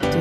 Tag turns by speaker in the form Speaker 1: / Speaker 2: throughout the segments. Speaker 1: Du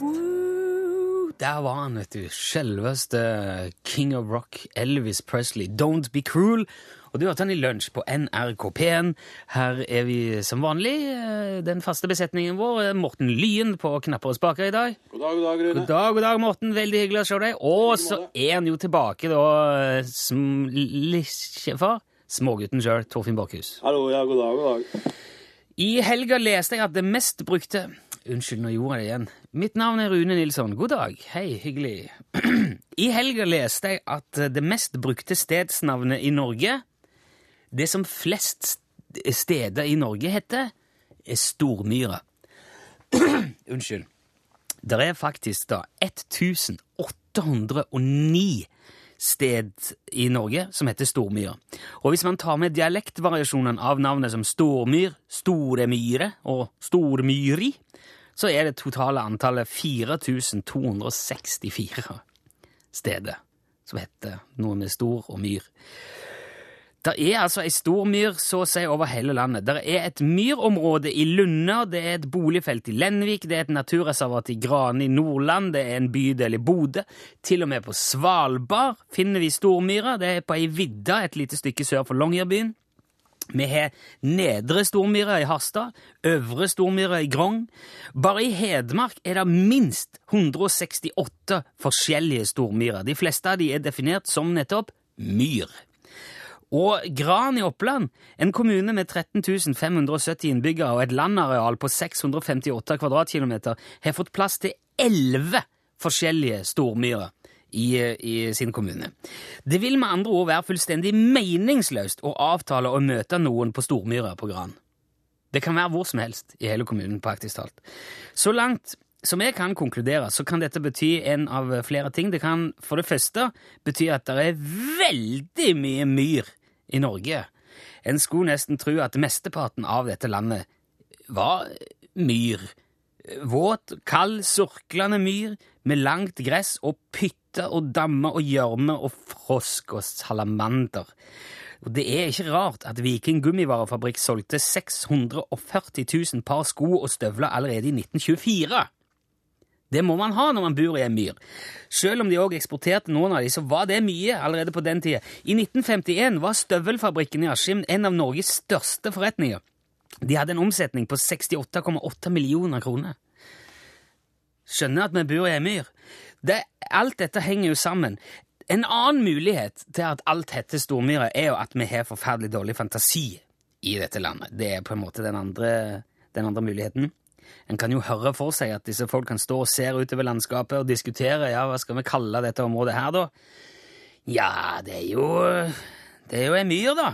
Speaker 2: Woo! Der var han, vet du. Selveste King of Rock, Elvis Presley. Don't be cruel. Og du hørte han i lunsj på NRK P1. Her er vi som vanlig, eh, den faste besetningen vår. eh, Morten Lyen på knapper og spaker i dag.
Speaker 3: God dag, god dag, Rune.
Speaker 2: God dag, god dag, Morten. Veldig hyggelig å se deg. Og så er han jo tilbake, da, eh, som lillesjefar. Smågutten sjøl, Torfinn Borchhus.
Speaker 3: Hallo, ja, god dag, god dag.
Speaker 2: I helga leste jeg at det mest brukte Unnskyld, nå gjorde jeg det igjen. Mitt navn er Rune Nilsson. God dag. Hei, hyggelig. I helga leste jeg at det mest brukte stedsnavnet i Norge, det som flest st- steder i Norge heter, er Stormyra. Unnskyld. Det er faktisk da 1809 sted i Norge som heter Stormyr. Og hvis man tar med dialektvariasjonene av navnet som Stormyr, Storemyre og Stormyri, så er det totale antallet 4264 steder som heter noe med stor og myr. Det er altså ei stor myr så å si over hele landet. Det er et myrområde i Lunner, det er et boligfelt i Lenvik, det er et naturreservat i Grane i Nordland, det er en bydel i Bodø. Til og med på Svalbard finner vi Stormyra. Det er på ei vidde et lite stykke sør for Longyearbyen. Vi har Nedre Stormyra i Harstad, Øvre Stormyra i Grong. Bare i Hedmark er det minst 168 forskjellige stormyrer. De fleste av de er definert som nettopp myr. Og Gran i Oppland, en kommune med 13 570 innbyggere og et landareal på 658 kvadratkilometer, har fått plass til 11 forskjellige stormyrer i, i sin kommune. Det vil med andre ord være fullstendig meningsløst å avtale å møte noen på stormyra på Gran. Det kan være hvor som helst i hele kommunen, praktisk talt. Så langt som jeg kan konkludere, så kan dette bety en av flere ting. Det kan for det første bety at det er veldig mye myr i Norge. En skulle nesten tro at mesteparten av dette landet var myr. Våt, kald, surklende myr med langt gress og pytter og dammer og gjørme og frosk og salamander. Og det er ikke rart at Viking gummivarefabrikk solgte 640 000 par sko og støvler allerede i 1924. Det må man ha når man bor i en myr. Selv om de også eksporterte noen av de, så var det mye allerede på den tida. I 1951 var støvelfabrikken i Askim en av Norges største forretninger. De hadde en omsetning på 68,8 millioner kroner. Skjønner at vi bor i en myr. Det, alt dette henger jo sammen. En annen mulighet til at alt heter Stormyra, er jo at vi har forferdelig dårlig fantasi i dette landet. Det er på en måte den andre, den andre muligheten. En kan jo høre for seg at disse folk kan stå og se utover landskapet og diskutere ja, hva skal vi kalle dette området her, da? Ja, det er jo Det er jo en myr, da.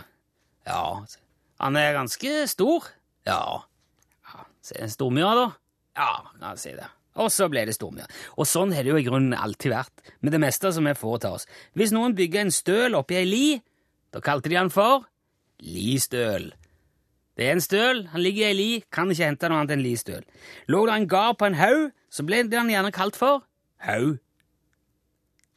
Speaker 2: Ja, altså. han er ganske stor. Ja. ja så er det Stormyra, da? Ja, la oss si det. Og så ble det stormyr. Og sånn har det jo i grunnen alltid vært med det meste som vi foretar oss. Hvis noen bygger en støl oppi ei li, da kalte de han for listøl. Det er en støl, han ligger i ei li, kan ikke hente noe annet enn listøl. Lå det en gard på en haug, så ble det han gjerne kalt for haug.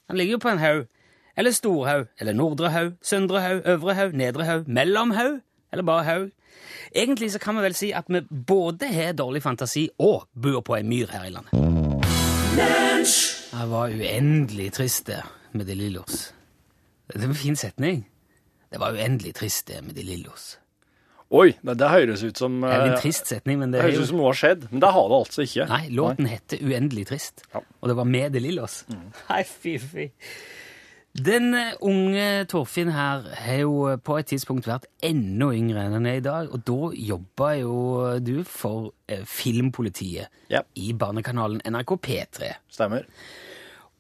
Speaker 2: Han ligger jo på en haug. Eller storhaug. Eller nordre haug. Søndre haug. Øvre haug. Nedre haug. Mellomhaug. Eller bare haug. Egentlig så kan vi vel si at vi både har dårlig fantasi og bor på en myr her i landet. Jeg var uendelig trist det med de lillos. Det er en fin setning. Det var uendelig trist det med de lillos.
Speaker 4: Oi, det, det høres ut som
Speaker 2: Det er jo
Speaker 4: eh,
Speaker 2: en trist setning, men det
Speaker 4: det
Speaker 2: er
Speaker 4: høres
Speaker 2: jo
Speaker 4: ut som noe har skjedd, men det har det altså ikke.
Speaker 2: Nei, låten heter Uendelig trist,
Speaker 4: Ja. Mm.
Speaker 2: og det var med De Lillos. Nei, fy, fy. Den eh, unge Torfinn her har jo eh, på et tidspunkt vært enda yngre enn han er i dag, og da jobba jo du for eh, Filmpolitiet
Speaker 4: Ja.
Speaker 2: i barnekanalen NRK P3.
Speaker 4: Stemmer.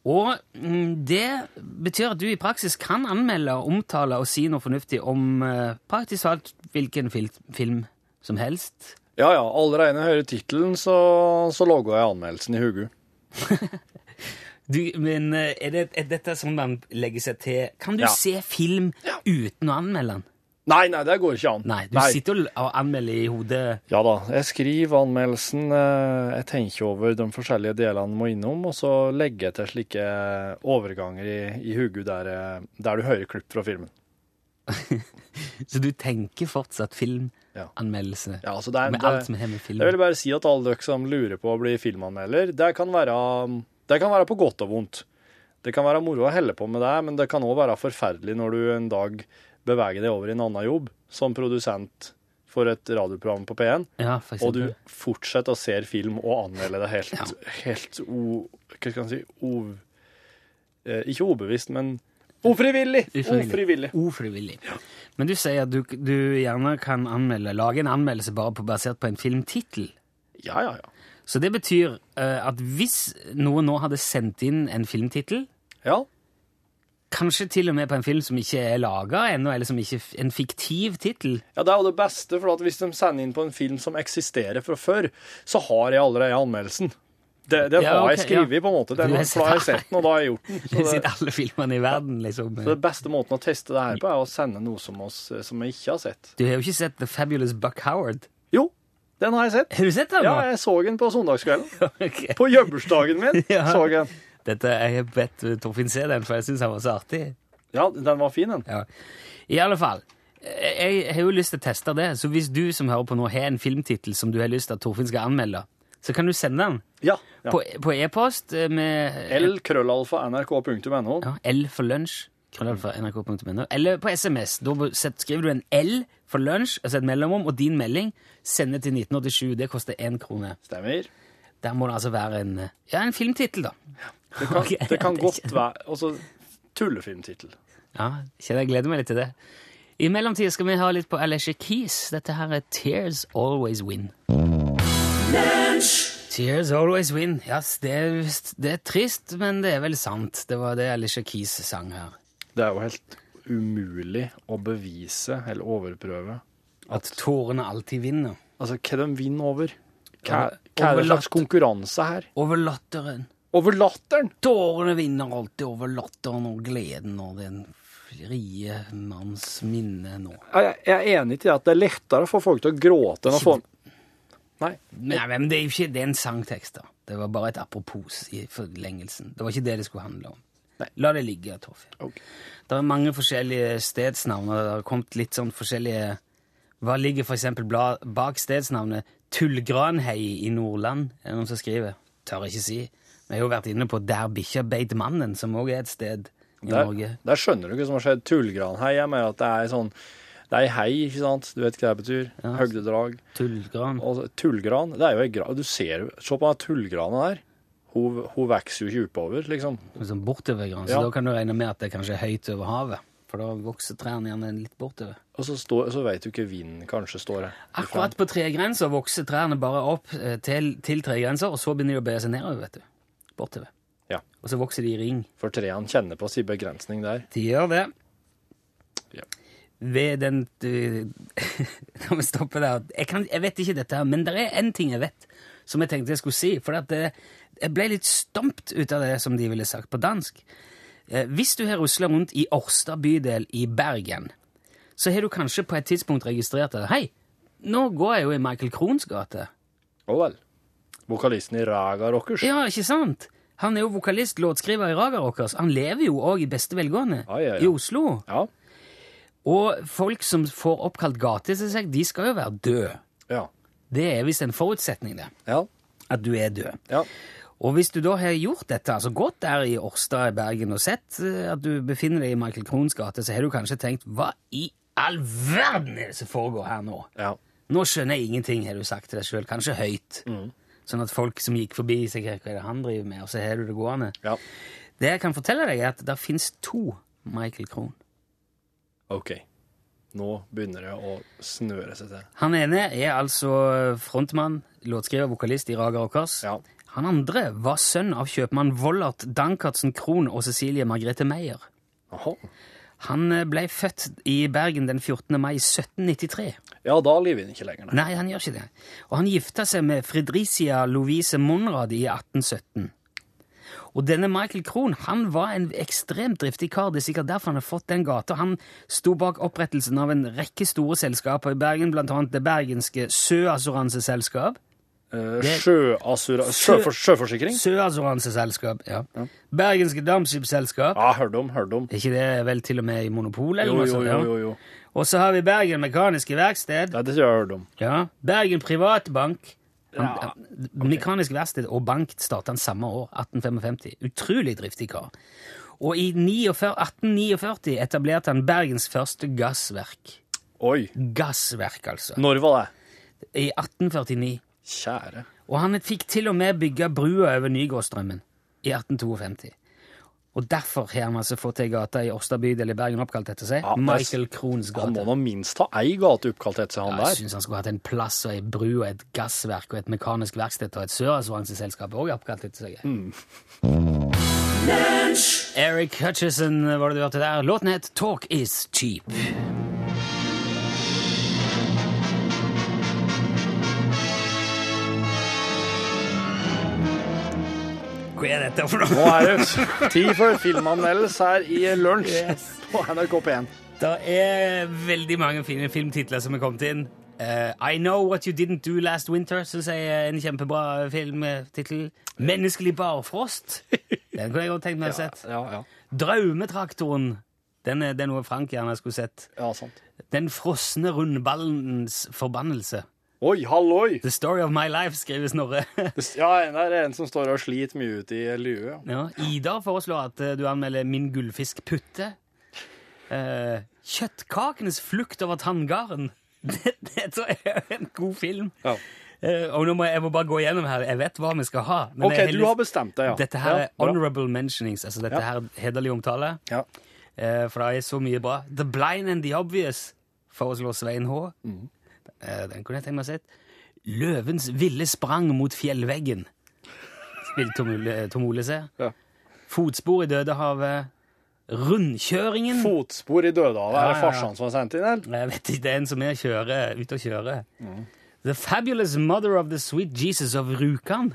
Speaker 2: Og mm, det betyr at du i praksis kan anmelde, omtale og si noe fornuftig om eh, praktisk talt hvilken fil film som helst.
Speaker 4: Ja ja, allerede når jeg hører tittelen, så, så logga jeg anmeldelsen i hugu.
Speaker 2: Du, men eh, er, det, er dette sånn man legger seg til Kan du
Speaker 4: Ja.
Speaker 2: se film uten å anmelde den?
Speaker 5: Nei, nei, det går ikke an.
Speaker 2: Nei, du sitter jo og anmelder i hodet.
Speaker 5: Ja da, jeg skriver anmeldelsen, eh, jeg tenker over de forskjellige delene må innom, og så legger jeg til slike overganger i, i hodet der, jeg- der du hører klipp fra filmen.
Speaker 2: Så du tenker fortsatt filmanmeldelse
Speaker 5: Ja, altså det er,
Speaker 2: med
Speaker 5: det,
Speaker 2: alt som har med film
Speaker 5: Jeg vil bare si at alle dere som lurer på å bli filmanmelder, det kan være, det kan være på godt og vondt. Det kan være moro å helle på med det, men det kan òg være forferdelig når du en dag beveger deg over i en annen jobb, som produsent for et radioprogram på P1,
Speaker 2: Ja, for
Speaker 5: og du
Speaker 2: eksempel.
Speaker 5: fortsetter å se film og anmelde det helt,
Speaker 2: Ja.
Speaker 5: helt o... Hva skal en si? O, eh, ikke ubevisst, men ofrivillig!
Speaker 2: Ufrivillig.
Speaker 5: Ofrivillig.
Speaker 2: Ofrivillig. Men du sier at du, du gjerne kan anmelde, lage en anmeldelse bare på, basert på en filmtittel.
Speaker 5: Ja, ja, ja.
Speaker 2: Så det betyr eh, at hvis noen nå hadde sendt inn en filmtittel,
Speaker 5: Ja,
Speaker 2: kanskje til og med på en film som ikke er laga ennå, eller som ikke en fiktiv tittel
Speaker 5: Ja, det er jo det beste, for at hvis de sender inn på en film som eksisterer fra før, så har jeg allerede anmeldelsen. Det, det
Speaker 2: Ja,
Speaker 5: har
Speaker 2: ok,
Speaker 5: jeg skrevet
Speaker 2: ja.
Speaker 5: på en måte. Det er
Speaker 2: Du har
Speaker 5: noe, for da har jeg sett den, og da har jeg gjort den. Så
Speaker 2: Sitter
Speaker 5: det,
Speaker 2: alle filmene i verden, liksom.
Speaker 5: så det beste måten å teste det her på, er å sende noe som, oss, som jeg ikke har sett.
Speaker 2: Du har jo ikke sett The Fabulous Buck Howard.
Speaker 5: Jo, den har jeg sett.
Speaker 2: Har du sett den?
Speaker 5: Ja,
Speaker 2: nå?
Speaker 5: jeg så den på søndagskvelden.
Speaker 2: Ok.
Speaker 5: På jøbbelsdagen min
Speaker 2: Ja.
Speaker 5: så jeg den.
Speaker 2: Dette, Jeg har bedt eh, Torfinn se den, for jeg syns han var så artig.
Speaker 5: Ja, den var fin, den.
Speaker 2: Ja. I alle fall, jeg jeg har jo lyst til å teste det, så hvis du som hører på nå har en filmtittel som du har lyst til at Torfinn skal anmelde, så kan du sende den
Speaker 5: Ja. ja.
Speaker 2: på, på e-post eh, med
Speaker 5: L-krøllalfa-nrk.no.
Speaker 2: ja, L for lunsj, krøllalfa
Speaker 5: Mm.
Speaker 2: nrk.no, eller på SMS. Da bu- set- skriver du en L for lunsj, altså et mellomrom, og din melding sender til 1987. Det koster én krone.
Speaker 5: Stemmer.
Speaker 2: Der må det altså være en, eh, ja, en filmtittel, da.
Speaker 5: Det kan,
Speaker 2: Ok,
Speaker 5: det kan
Speaker 2: det er
Speaker 5: godt være Altså, tullefilmtittel.
Speaker 2: Ja, kjenner jeg gleder meg litt til det. I mellomtida skal vi ha litt på Alicia Keys. Dette her er Tears Always Win. Tears Always Win. Ja, det, er- det er trist, men det er vel sant. Det var det Alicia Keys sang her.
Speaker 5: Det er jo helt umulig å bevise eller overprøve.
Speaker 2: At tårene alltid vinner.
Speaker 5: Altså, hva de vinner over? Hva,
Speaker 2: Over-
Speaker 5: hva er
Speaker 2: over
Speaker 5: det slags konkurranse her?
Speaker 2: Over latteren.
Speaker 5: Over latteren!
Speaker 2: Tårene vinner alltid over latteren og gleden og den frie manns minne nå.
Speaker 5: Jeg, jeg er enig til at det er lettere å få folk til å gråte enn å få Nei.
Speaker 2: Nei, men det er jo ikke det er en sangtekst, da. Det var bare et apropos i forlengelsen. Det var ikke det det skulle handle om.
Speaker 5: Nei.
Speaker 2: La det ligge, Torfinn.
Speaker 5: Ok.
Speaker 2: Det er mange forskjellige stedsnavn, og det har kommet litt sånn forskjellige Hva ligger for eksempel bla- bak stedsnavnet Tullgranhei i Nordland? Er det noen som skriver? Tør ikke si. Vi har jo vært inne på Der bikkja beit mannen, som òg er et sted i Norge.
Speaker 5: Der, der skjønner du ikke hva som har skjedd. Tullgranhei. Jeg mener at det er sånn Det er ei hei, ikke sant? Du vet hva det betyr? Høgdedrag.
Speaker 2: Tullgran.
Speaker 5: Og så- tullgran, det er jo ei gran Du ser jo Se på den tullgrana der. Hun, hun vokser jo ikke oppover, liksom.
Speaker 2: Sånn bortovergran. Så
Speaker 5: Ja.
Speaker 2: da kan du regne med at det kanskje er høyt over havet. For da vokser trærne gjerne litt bortover.
Speaker 5: Og så, står, så vet du ikke vinden kanskje står her.
Speaker 2: Akkurat på tregrensa vokser trærne bare opp eh, til, til tregrensa, og så begynner de å bøye seg nedover, vet du. Bortover.
Speaker 5: Ja.
Speaker 2: Og så vokser de i ring.
Speaker 5: For trærne kjenner på sin begrensning der.
Speaker 2: De gjør det.
Speaker 5: Ja.
Speaker 2: Ved den du, Når vi stopper der jeg, kan, jeg vet ikke dette her, men det er én ting jeg vet, som jeg tenkte jeg skulle si. For at det, jeg ble litt stumpt ut av det som de ville sagt på dansk. Eh, Hvis du har rusla rundt i Årstad bydel i Bergen, så har du kanskje på et tidspunkt registrert at Hei, nå går jeg jo i Michael Krohns gate.
Speaker 5: Å vel. Vokalisten i Raga Rockers.
Speaker 2: Ja, ikke sant? Han er jo vokalist, låtskriver i Raga Rockers. Han lever jo òg i beste velgående
Speaker 5: Ja, ja, ja.
Speaker 2: i Oslo.
Speaker 5: Ja.
Speaker 2: Og folk som får oppkalt gater til seg, de skal jo være døde.
Speaker 5: Ja.
Speaker 2: Det er visst en forutsetning, det.
Speaker 5: Ja.
Speaker 2: At du er død.
Speaker 5: ja.
Speaker 2: Og hvis du da har gjort dette, altså gått der i Årstad i Bergen og sett eh, at du befinner deg i Michael Krohns gate, så har du kanskje tenkt hva i all verden er det som foregår her nå?
Speaker 5: ja.
Speaker 2: Nå skjønner jeg ingenting, har du sagt til deg sjøl, kanskje høyt.
Speaker 5: Mm.
Speaker 2: Sånn at folk som gikk forbi, sier hva er det han driver med, og så har du det gående.
Speaker 5: Ja.
Speaker 2: Det jeg kan fortelle deg, er at det fins to Michael Krohn.
Speaker 5: OK. Nå begynner det å snøre seg til.
Speaker 2: Han ene er altså frontmann, låtskriver, vokalist i Raga Rockers.
Speaker 5: Ja.
Speaker 2: Han andre var sønn av kjøpmann Vollert Dankertsen Krohn og Cecilie Margrethe Meyer.
Speaker 5: Aha.
Speaker 2: Han eh, ble født i Bergen den 14. mai 1793.
Speaker 5: Ja, da lever den ikke lenger, nei.
Speaker 2: Nei, han gjør ikke det. Og han gifta seg med Fredricia Lovise Monrad i 1817. Og denne Michael Krohn han var en ekstremt driftig kar. Det er sikkert derfor han har fått den gata. Han sto bak opprettelsen av en rekke store selskaper i Bergen, blant annet det bergenske Søassuranseselskap.
Speaker 5: Eh,
Speaker 2: Det-
Speaker 5: Sjøassura...
Speaker 2: Sjø-
Speaker 5: Sjøfor, sjøforsikring?
Speaker 2: Søassuranseselskap, ja. Bergenske Dampskipsselskap.
Speaker 5: Ja, hørt om, hørt om.
Speaker 2: Er ikke det vel til og med i Monopol? eller
Speaker 5: Jo,
Speaker 2: noe
Speaker 5: jo,
Speaker 2: sånt?
Speaker 5: jo,
Speaker 2: ja?
Speaker 5: jo. jo.
Speaker 2: Og så har vi Bergen Mekaniske Verksted.
Speaker 5: Nei, det tror jeg jeg har hørt om.
Speaker 2: Ja. Bergen Privatbank. Han,
Speaker 5: Ja,
Speaker 2: Mekanisk verksted og bank starta han samme år, 1855. Utrolig driftig kar. Og i 49, 1849 etablerte han Bergens første gassverk.
Speaker 5: Oi.
Speaker 2: Gassverk, altså.
Speaker 5: Når var det?
Speaker 2: I 1849.
Speaker 5: Kjære.
Speaker 2: Og han fikk til og med bygge brua over Nygårdstrømmen i 1852. Og derfor har han altså fått ei gate i Årstad bydel i Bergen oppkalt etter seg.
Speaker 5: Ja, det er-
Speaker 2: Michael Krohns
Speaker 5: Han må
Speaker 2: gate.
Speaker 5: da minst ha ei gate oppkalt etter seg, han
Speaker 2: Ja, jeg
Speaker 5: der.
Speaker 2: syns han skulle hatt en plass og ei bru og et gassverk og et mekanisk verksted og et sørassuranseselskap òg oppkalt etter seg. Eric Hutchison var det du hørte der. Låten het Talk Is Cheap. Hva er dette for noe?
Speaker 5: Nå er det tid for Filmanmeldelse her i lunsj på NRK P1.
Speaker 2: Det er veldig mange fine filmtitler som er kommet inn. Eh, I Know What You Didn't Do Last Winter synes jeg er en kjempebra filmtittel. Menneskelig barfrost. Den kunne jeg godt tenkt meg å ha sett.
Speaker 5: Ja, ja.
Speaker 2: Draumetraktoren. Den er, det er noe Frank gjerne skulle sett.
Speaker 5: ja, sant.
Speaker 2: Den frosne rundballens forbannelse.
Speaker 5: Oi, halloi!
Speaker 2: The Story of My Life, skriver Snorre.
Speaker 5: Ja, det er en som står og sliter mye ut i lue.
Speaker 2: ja. Ida foreslår at eh, du anmelder Min gullfisk Putte. Eh, Kjøttkakenes flukt over tanngarden. Det, det tror jeg er en god film.
Speaker 5: Ja.
Speaker 2: Eh, og nå må jeg, jeg må bare gå gjennom her. Jeg vet hva vi skal ha. men
Speaker 5: OK,
Speaker 2: jeg
Speaker 5: du
Speaker 2: lyst-
Speaker 5: har bestemt deg, ja.
Speaker 2: Dette her
Speaker 5: ja,
Speaker 2: er honorable mentionings, altså dette
Speaker 5: Ja.
Speaker 2: her er hederlig omtale.
Speaker 5: Ja.
Speaker 2: eh, for det er så mye bra. The Blind and the Obvious foreslår Svein H.
Speaker 5: Mm.
Speaker 2: Eh, den kunne jeg tenkt meg å sett. Løvens ville sprang mot fjellveggen. Vil Tom Ole, eh, Tom Ole se.
Speaker 5: Ja.
Speaker 2: Fotspor i Dødehavet. Rundkjøringen.
Speaker 5: Fotspor i Dødehavet.
Speaker 2: Ja,
Speaker 5: Er
Speaker 2: ja,
Speaker 5: det
Speaker 2: ja.
Speaker 5: farsan som har sendt inn, eller?
Speaker 2: Nei, Jeg vet ikke, det er en som er kjører, ute og kjører. The Fabulous Mother of the Sweet Jesus of Rjukan.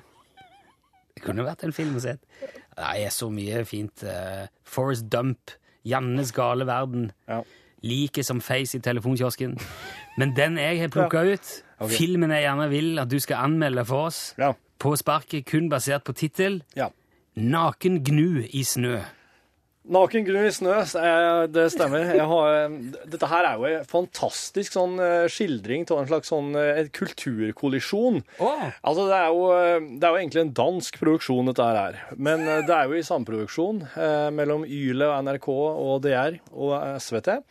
Speaker 2: Det kunne vært en film å se. Det er så mye fint. eh, Forrest Dump, Jannes gale verden,
Speaker 5: Ja.
Speaker 2: Liket som feis i telefonkiosken. Men den jeg har plukka ut,
Speaker 5: Ok.
Speaker 2: filmen jeg gjerne vil at du skal anmelde for oss,
Speaker 5: Ja.
Speaker 2: på sparket kun basert på tittel,
Speaker 5: ja.
Speaker 2: Naken gnu i snø.
Speaker 5: Naken gnu i snø, s- eh, det stemmer. Jeg har, dette her er jo en fantastisk sånn eh, skildring av en slags sånn eh, en kulturkollisjon.
Speaker 2: Åh.
Speaker 5: Altså, det er, jo, eh, det er jo egentlig en dansk produksjon, dette her. er. Men eh, det er jo i samproduksjon eh, mellom Yle og NRK og DR og eh, SVT.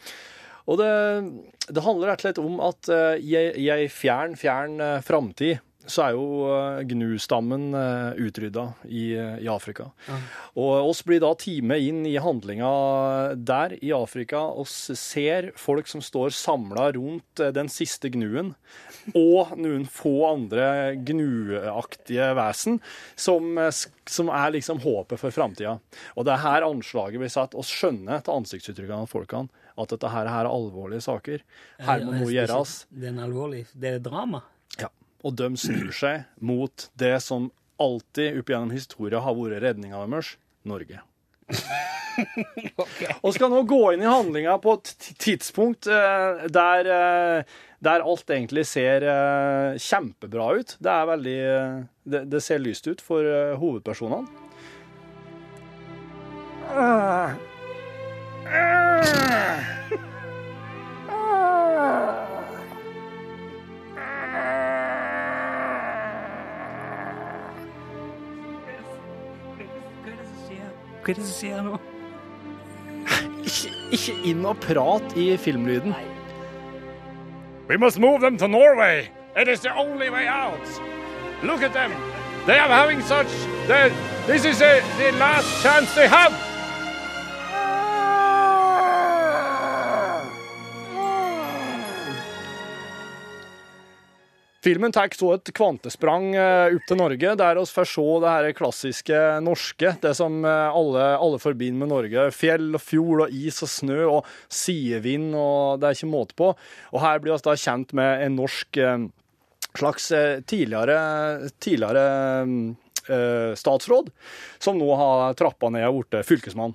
Speaker 5: Og det, det handler rett og slett om at eh, i ei- i ei fjern, fjern eh, framtid så er jo eh, gnu-stammen eh, utrydda i, eh, i Afrika. Og oss blir da time inn i handlinga der i Afrika. Oss ser folk som står samla rundt eh, den siste gnuen, og noen få andre gnuaktige vesen, som, eh, sk- som er liksom håpet for framtida. Og det er her anslaget blir satt. oss skjønner til ansiktsuttrykkene av folkene at dette her, her er alvorlige saker. Her må noe gjøres.
Speaker 2: Det er en alvorlig Det er drama.
Speaker 5: Ja. Og de snur seg mot det som alltid opp gjennom historien har vært redninga deres Norge. Og skal nå gå inn i handlinga på et ti- tidspunkt eh, der, eh, der alt egentlig ser eh, kjempebra ut. Det er veldig eh, det, det ser lyst ut for eh, hovedpersonene.
Speaker 2: Hva er det som skjer nå?
Speaker 5: Ikke, ikke inn og prat i filmlyden. We must move them to Norway. It is the only way out. Look at them. They are having such... they- this is the, the last chance they have. Filmen tar så et kvantesprang eh, opp til Norge, der oss først så det her klassiske norske, det som eh, alle, alle forbinder med Norge. Fjell og fjord og is og snø og sidevind, og det er ikke måte på. Og her blir oss da kjent med en norsk eh, slags eh, tidligere, tidligere mm, eh, statsråd, som nå har trappa ned og blitt fylkesmann.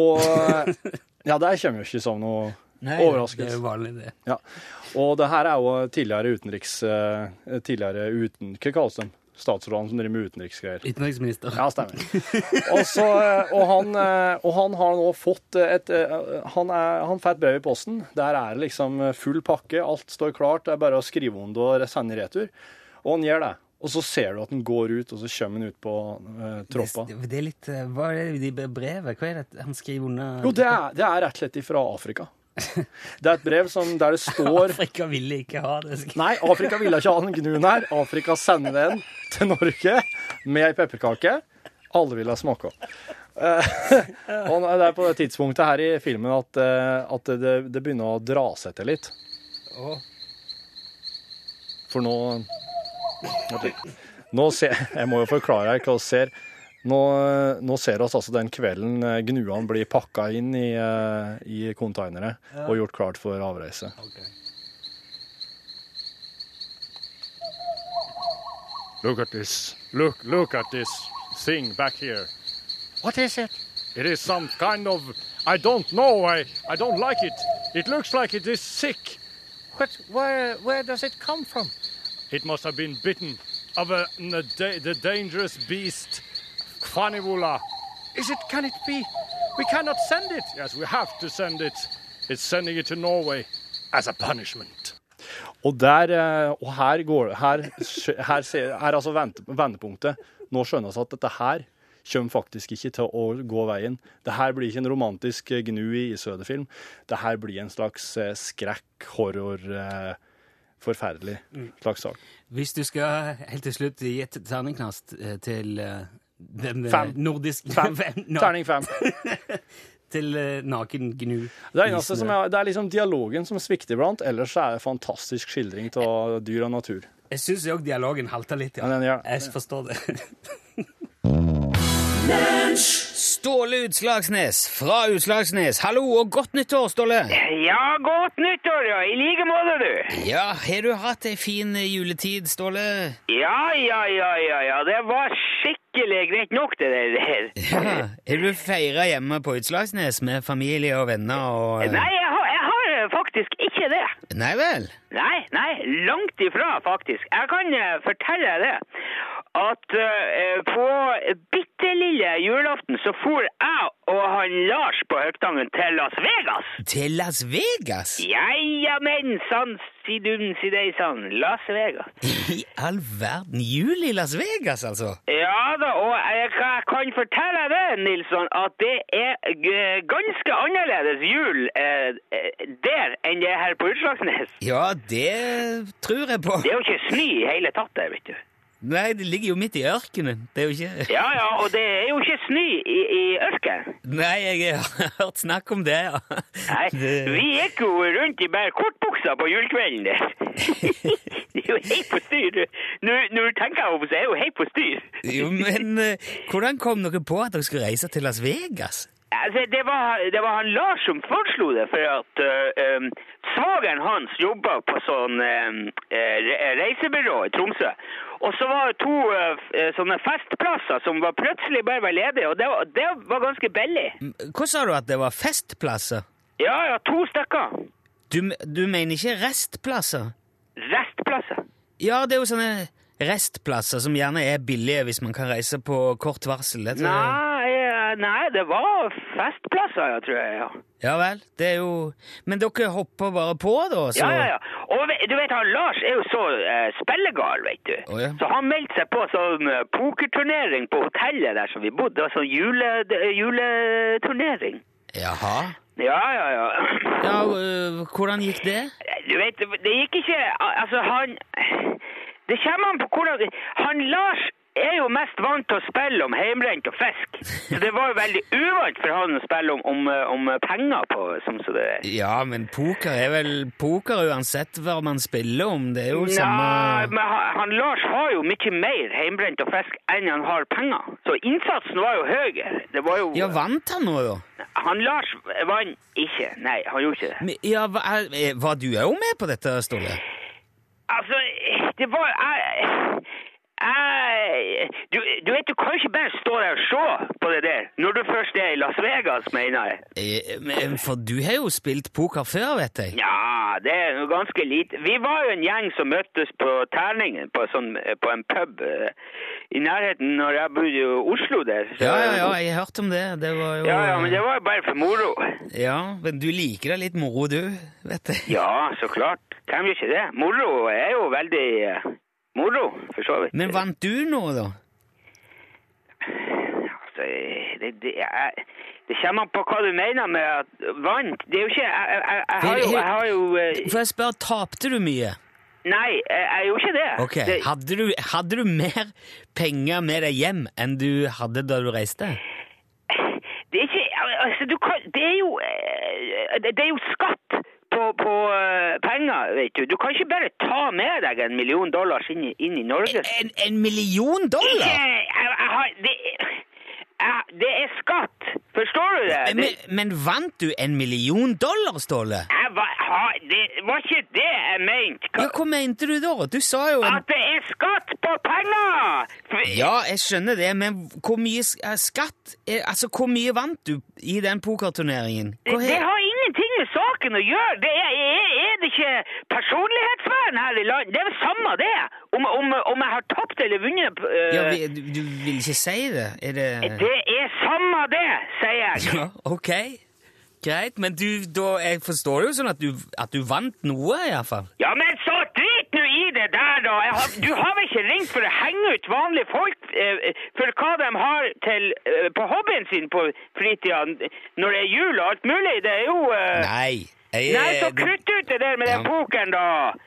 Speaker 5: Og eh, ja, det kommer jo ikke som noe
Speaker 2: Det er
Speaker 5: overraskelse.
Speaker 2: jo vanlig, det.
Speaker 5: Ja. Og det her er jo tidligere utenriks... eh, Tidligere uten... Hva kalles de? Statsrådene som driver med utenriksgreier.
Speaker 2: Utenriksminister.
Speaker 5: Ja, stemmer. Og, så, eh, og, han, eh, og han har nå fått et eh, Han, er, han får et brev i posten. Der er det liksom full pakke, alt står klart. Det er bare å skrive om det og sende i retur. Og han gjør det. Og så ser du at han går ut, og så kommer han ut på eh, troppa.
Speaker 2: Det, det er litt eh, Hva er det i det brevet? Hva er det han skriver under
Speaker 5: Jo, det er, det er rett og slett ifra Afrika. Det er et brev som, der det står
Speaker 2: Afrika ville ikke ha det. skriver-
Speaker 5: Nei, Afrika ville ikke ha den gnuen her. Afrika sender den til Norge med ei pepperkake. Alle ville smake av. Eh, og det er på det tidspunktet her i filmen at, eh, at det, det begynner å dra seg til litt.
Speaker 2: Å.
Speaker 5: For nå Vent litt. Nå ser Jeg må jo forklare her hva vi ser. Nå, nå ser oss altså den kvelden eh, gnuene blir pakka inn i, eh, i konteinere og gjort klart for avreise.
Speaker 6: Look at this. Look, look at this thing back here. What is it? It is some kind of. I don't know. I, I don't like it. It looks like it is sick. What, where, where does it come from? It must have been bitten of a, n- a da- the dangerous beast, Kvanivula. Is it? Can it be? We cannot send it. Yes, we have to send it. It's sending it to Norway as a punishment.
Speaker 5: Og, der, eh, og her, går, her, skj- her ser- er altså vente- vendepunktet. Nå skjønner vi at dette her kommer faktisk ikke til å gå veien. Det her blir ikke en romantisk eh, gnu i Sødefilm. Det her blir en slags eh, skrekk, horror, eh, forferdelig
Speaker 2: Mm.
Speaker 5: slags sak.
Speaker 2: Hvis du skal helt til slutt gi et terningknast eh, til eh, den eh,
Speaker 5: Fem.
Speaker 2: nordiske
Speaker 5: Fem.
Speaker 2: Fem, no,
Speaker 5: Terning fem.
Speaker 2: Til eh, naken gnu.
Speaker 5: Det er, eneste som er, det er liksom dialogen som svikter iblant, ellers er det fantastisk skildring av dyr og natur.
Speaker 2: Jeg syns òg dialogen halter litt.
Speaker 5: Ja, den gjør det.
Speaker 2: Jeg forstår det. Ståle Utslagsnes fra Utslagsnes. Hallo og godt nyttår, Ståle.
Speaker 7: Ja, godt nyttår, ja. I like måte, du.
Speaker 2: Ja, har du hatt ei fin eh, juletid, Ståle?
Speaker 7: Ja, ja, ja, ja, ja. Det var skikkelig greit nok, det der.
Speaker 2: Ja. Har du feira hjemme på Utslagsnes med familie og venner og eh,
Speaker 7: Nei, jeg har, jeg har eh, faktisk ikke det.
Speaker 2: Nei vel?
Speaker 7: Nei, nei, langt ifra, faktisk. Jeg kan eh, fortelle deg det. At eh, på bitte lille julaften så for jeg og han Lars på Høgtangen til Las Vegas.
Speaker 2: Til Las Vegas?
Speaker 7: Ja, ja, men sann, si dum, si deg sann. Las Vegas.
Speaker 2: I all verden! Jul i Las Vegas, altså?
Speaker 7: Ja da, og jeg ka- kan fortelle deg det, Nilsson, at det er g- ganske annerledes jul eh, eh, der enn det her på Utslagsnes.
Speaker 2: Ja, det tror jeg på.
Speaker 7: Det er jo ikke snø i hele tatt der, vet du.
Speaker 2: Nei, det ligger jo midt i ørkenen. Det er jo ikke
Speaker 7: Ja ja, og det er jo ikke snø i, i ørkenen.
Speaker 2: Nei, jeg har hørt snakk om det, ja.
Speaker 7: Nei,
Speaker 2: Det-
Speaker 7: vi gikk jo rundt i bare kortbuksa på julekvelden der. det er jo helt på styr. Når når du tenker over det, så er det jo helt på styr.
Speaker 2: Jo, men eh, hvordan kom dere på at dere skulle reise til Las Vegas?
Speaker 7: Altså, det var, det var han Lars som foreslo det, for at uh, um, svageren hans jobba på sånn um, eh, re- reisebyrå i Tromsø. Og så var det to eh, f- eh, sånne festplasser som var plutselig bare var ledige, og det var, det var ganske billig.
Speaker 2: Hva sa du at det var festplasser?
Speaker 7: Ja, ja, to stykker.
Speaker 2: Du, du mener ikke restplasser?
Speaker 7: Restplasser.
Speaker 2: Ja, det er jo sånne restplasser som gjerne er billige hvis man kan reise på kort varsel. Det tror jeg.
Speaker 7: Nei, eh, nei, det var festplasser, ja, tror jeg. ja.
Speaker 2: Ja vel, det er jo Men dere hopper bare på, da? Så...
Speaker 7: Ja, ja, ja. Og ve- du vet, han Lars er jo så eh, spillegal, vet du.
Speaker 2: Å, ja.
Speaker 7: Så han meldte seg på sånn eh, pokerturnering på hotellet der som vi bodde. Det var sånn jule, d- juleturnering.
Speaker 2: Jaha.
Speaker 7: Ja, ja, ja.
Speaker 2: Ja, øh, hvordan gikk det?
Speaker 7: Du vet, det gikk ikke al- Altså, han Det kommer an på hvordan Han Lars er jo mest vant til å spille om heimbrent og fisk. Så det var jo veldig uvant for han å spille om, om, eh, om penger på, som så det er.
Speaker 2: Ja, men poker er vel poker uansett hva man spiller om. Det er jo
Speaker 7: Nei,
Speaker 2: samme
Speaker 7: men han, han Lars har jo mye mer heimbrent og fisk enn han har penger. Så innsatsen var jo høyere. Det var jo
Speaker 2: Ja, vant han nå, da?
Speaker 7: Han Lars vant ikke. Nei, han gjorde ikke det.
Speaker 2: Men, Ja, hva- er- eh, Var du òg med på dette, Ståle?
Speaker 7: Altså, det var Jeg, jeg eh, du, du vet, du kan jo ikke bare stå der og se på det der, når du først er i Las Vegas, mener jeg.
Speaker 2: Eh, men- For du har jo spilt poker før, vet jeg.
Speaker 7: Ja, det er jo ganske lite. Vi var jo en gjeng som møttes på Terningen, på, sånn, på en pub eh, i nærheten når jeg bodde i Oslo der. Så-
Speaker 2: Ja, ja, ja, jeg har hørt om det. Det var jo
Speaker 7: Ja, ja, men det var jo bare for moro.
Speaker 2: Ja, men du liker deg litt moro, du, vet jeg.
Speaker 7: Ja, så klart. Hvem gjør ikke det? Moro er jo veldig eh, moro, for så vidt.
Speaker 2: Men vant du nå, da?
Speaker 7: Altså, det, det, jeg, det kommer an på hva du mener med at vant. Det er jo ikke Jeg, jeg, jeg, jeg har jo, jeg har jo eh,
Speaker 2: Får jeg spørre, tapte du mye?
Speaker 7: Nei, jeg, jeg gjorde ikke det.
Speaker 2: Ok,
Speaker 7: det
Speaker 2: hadde du, hadde du mer penger med deg hjem enn du hadde da du reiste?
Speaker 7: Det er ikke Altså, du kan Det er jo eh, Det det er jo skatt på, på eh, penger, vet du. Du kan ikke bare ta med deg en million dollars inn i, inn i Norge.
Speaker 2: En, en million
Speaker 7: Ikke
Speaker 2: dollar?!
Speaker 7: jeg, jeg har det, jeg, det er skatt! Forstår du det?
Speaker 2: Men,
Speaker 7: det
Speaker 2: men vant du en million dollar, Ståle?
Speaker 7: jeg var, har- det var ikke det jeg mente.
Speaker 2: Ja, hva mente du da? Du sa jo en...
Speaker 7: At det er skatt på penger! For-
Speaker 2: Ja, jeg skjønner det, men hvor mye sk- eh, skatt eh, Altså, hvor mye vant du i den pokerturneringen? Hva
Speaker 7: Det har ingenting med saken å gjøre. Det er, er, er det ikke personlighetsvern her i landet? Det er det samme, det. Om, om, om jeg har tapt eller vunnet eh,
Speaker 2: ja, vi, du, du vil ikke si det? Er det
Speaker 7: Det er samme, det, sier jeg.
Speaker 2: Ja, ok. Greit, men du, da, jeg forstår det jo sånn at du, at du vant noe, iallfall.
Speaker 7: Ja, men så drit nå i det der, da! Jeg har, du har vel ikke ringt for å henge ut vanlige folk eh, for hva de har til, eh, på hobbyen sin på fritida når det er jul og alt mulig? Det er jo eh,
Speaker 2: Nei. Jeg, eh,
Speaker 7: Nei, så
Speaker 2: det-
Speaker 7: kutt ut det der med den
Speaker 2: Ja.
Speaker 7: pokeren, da!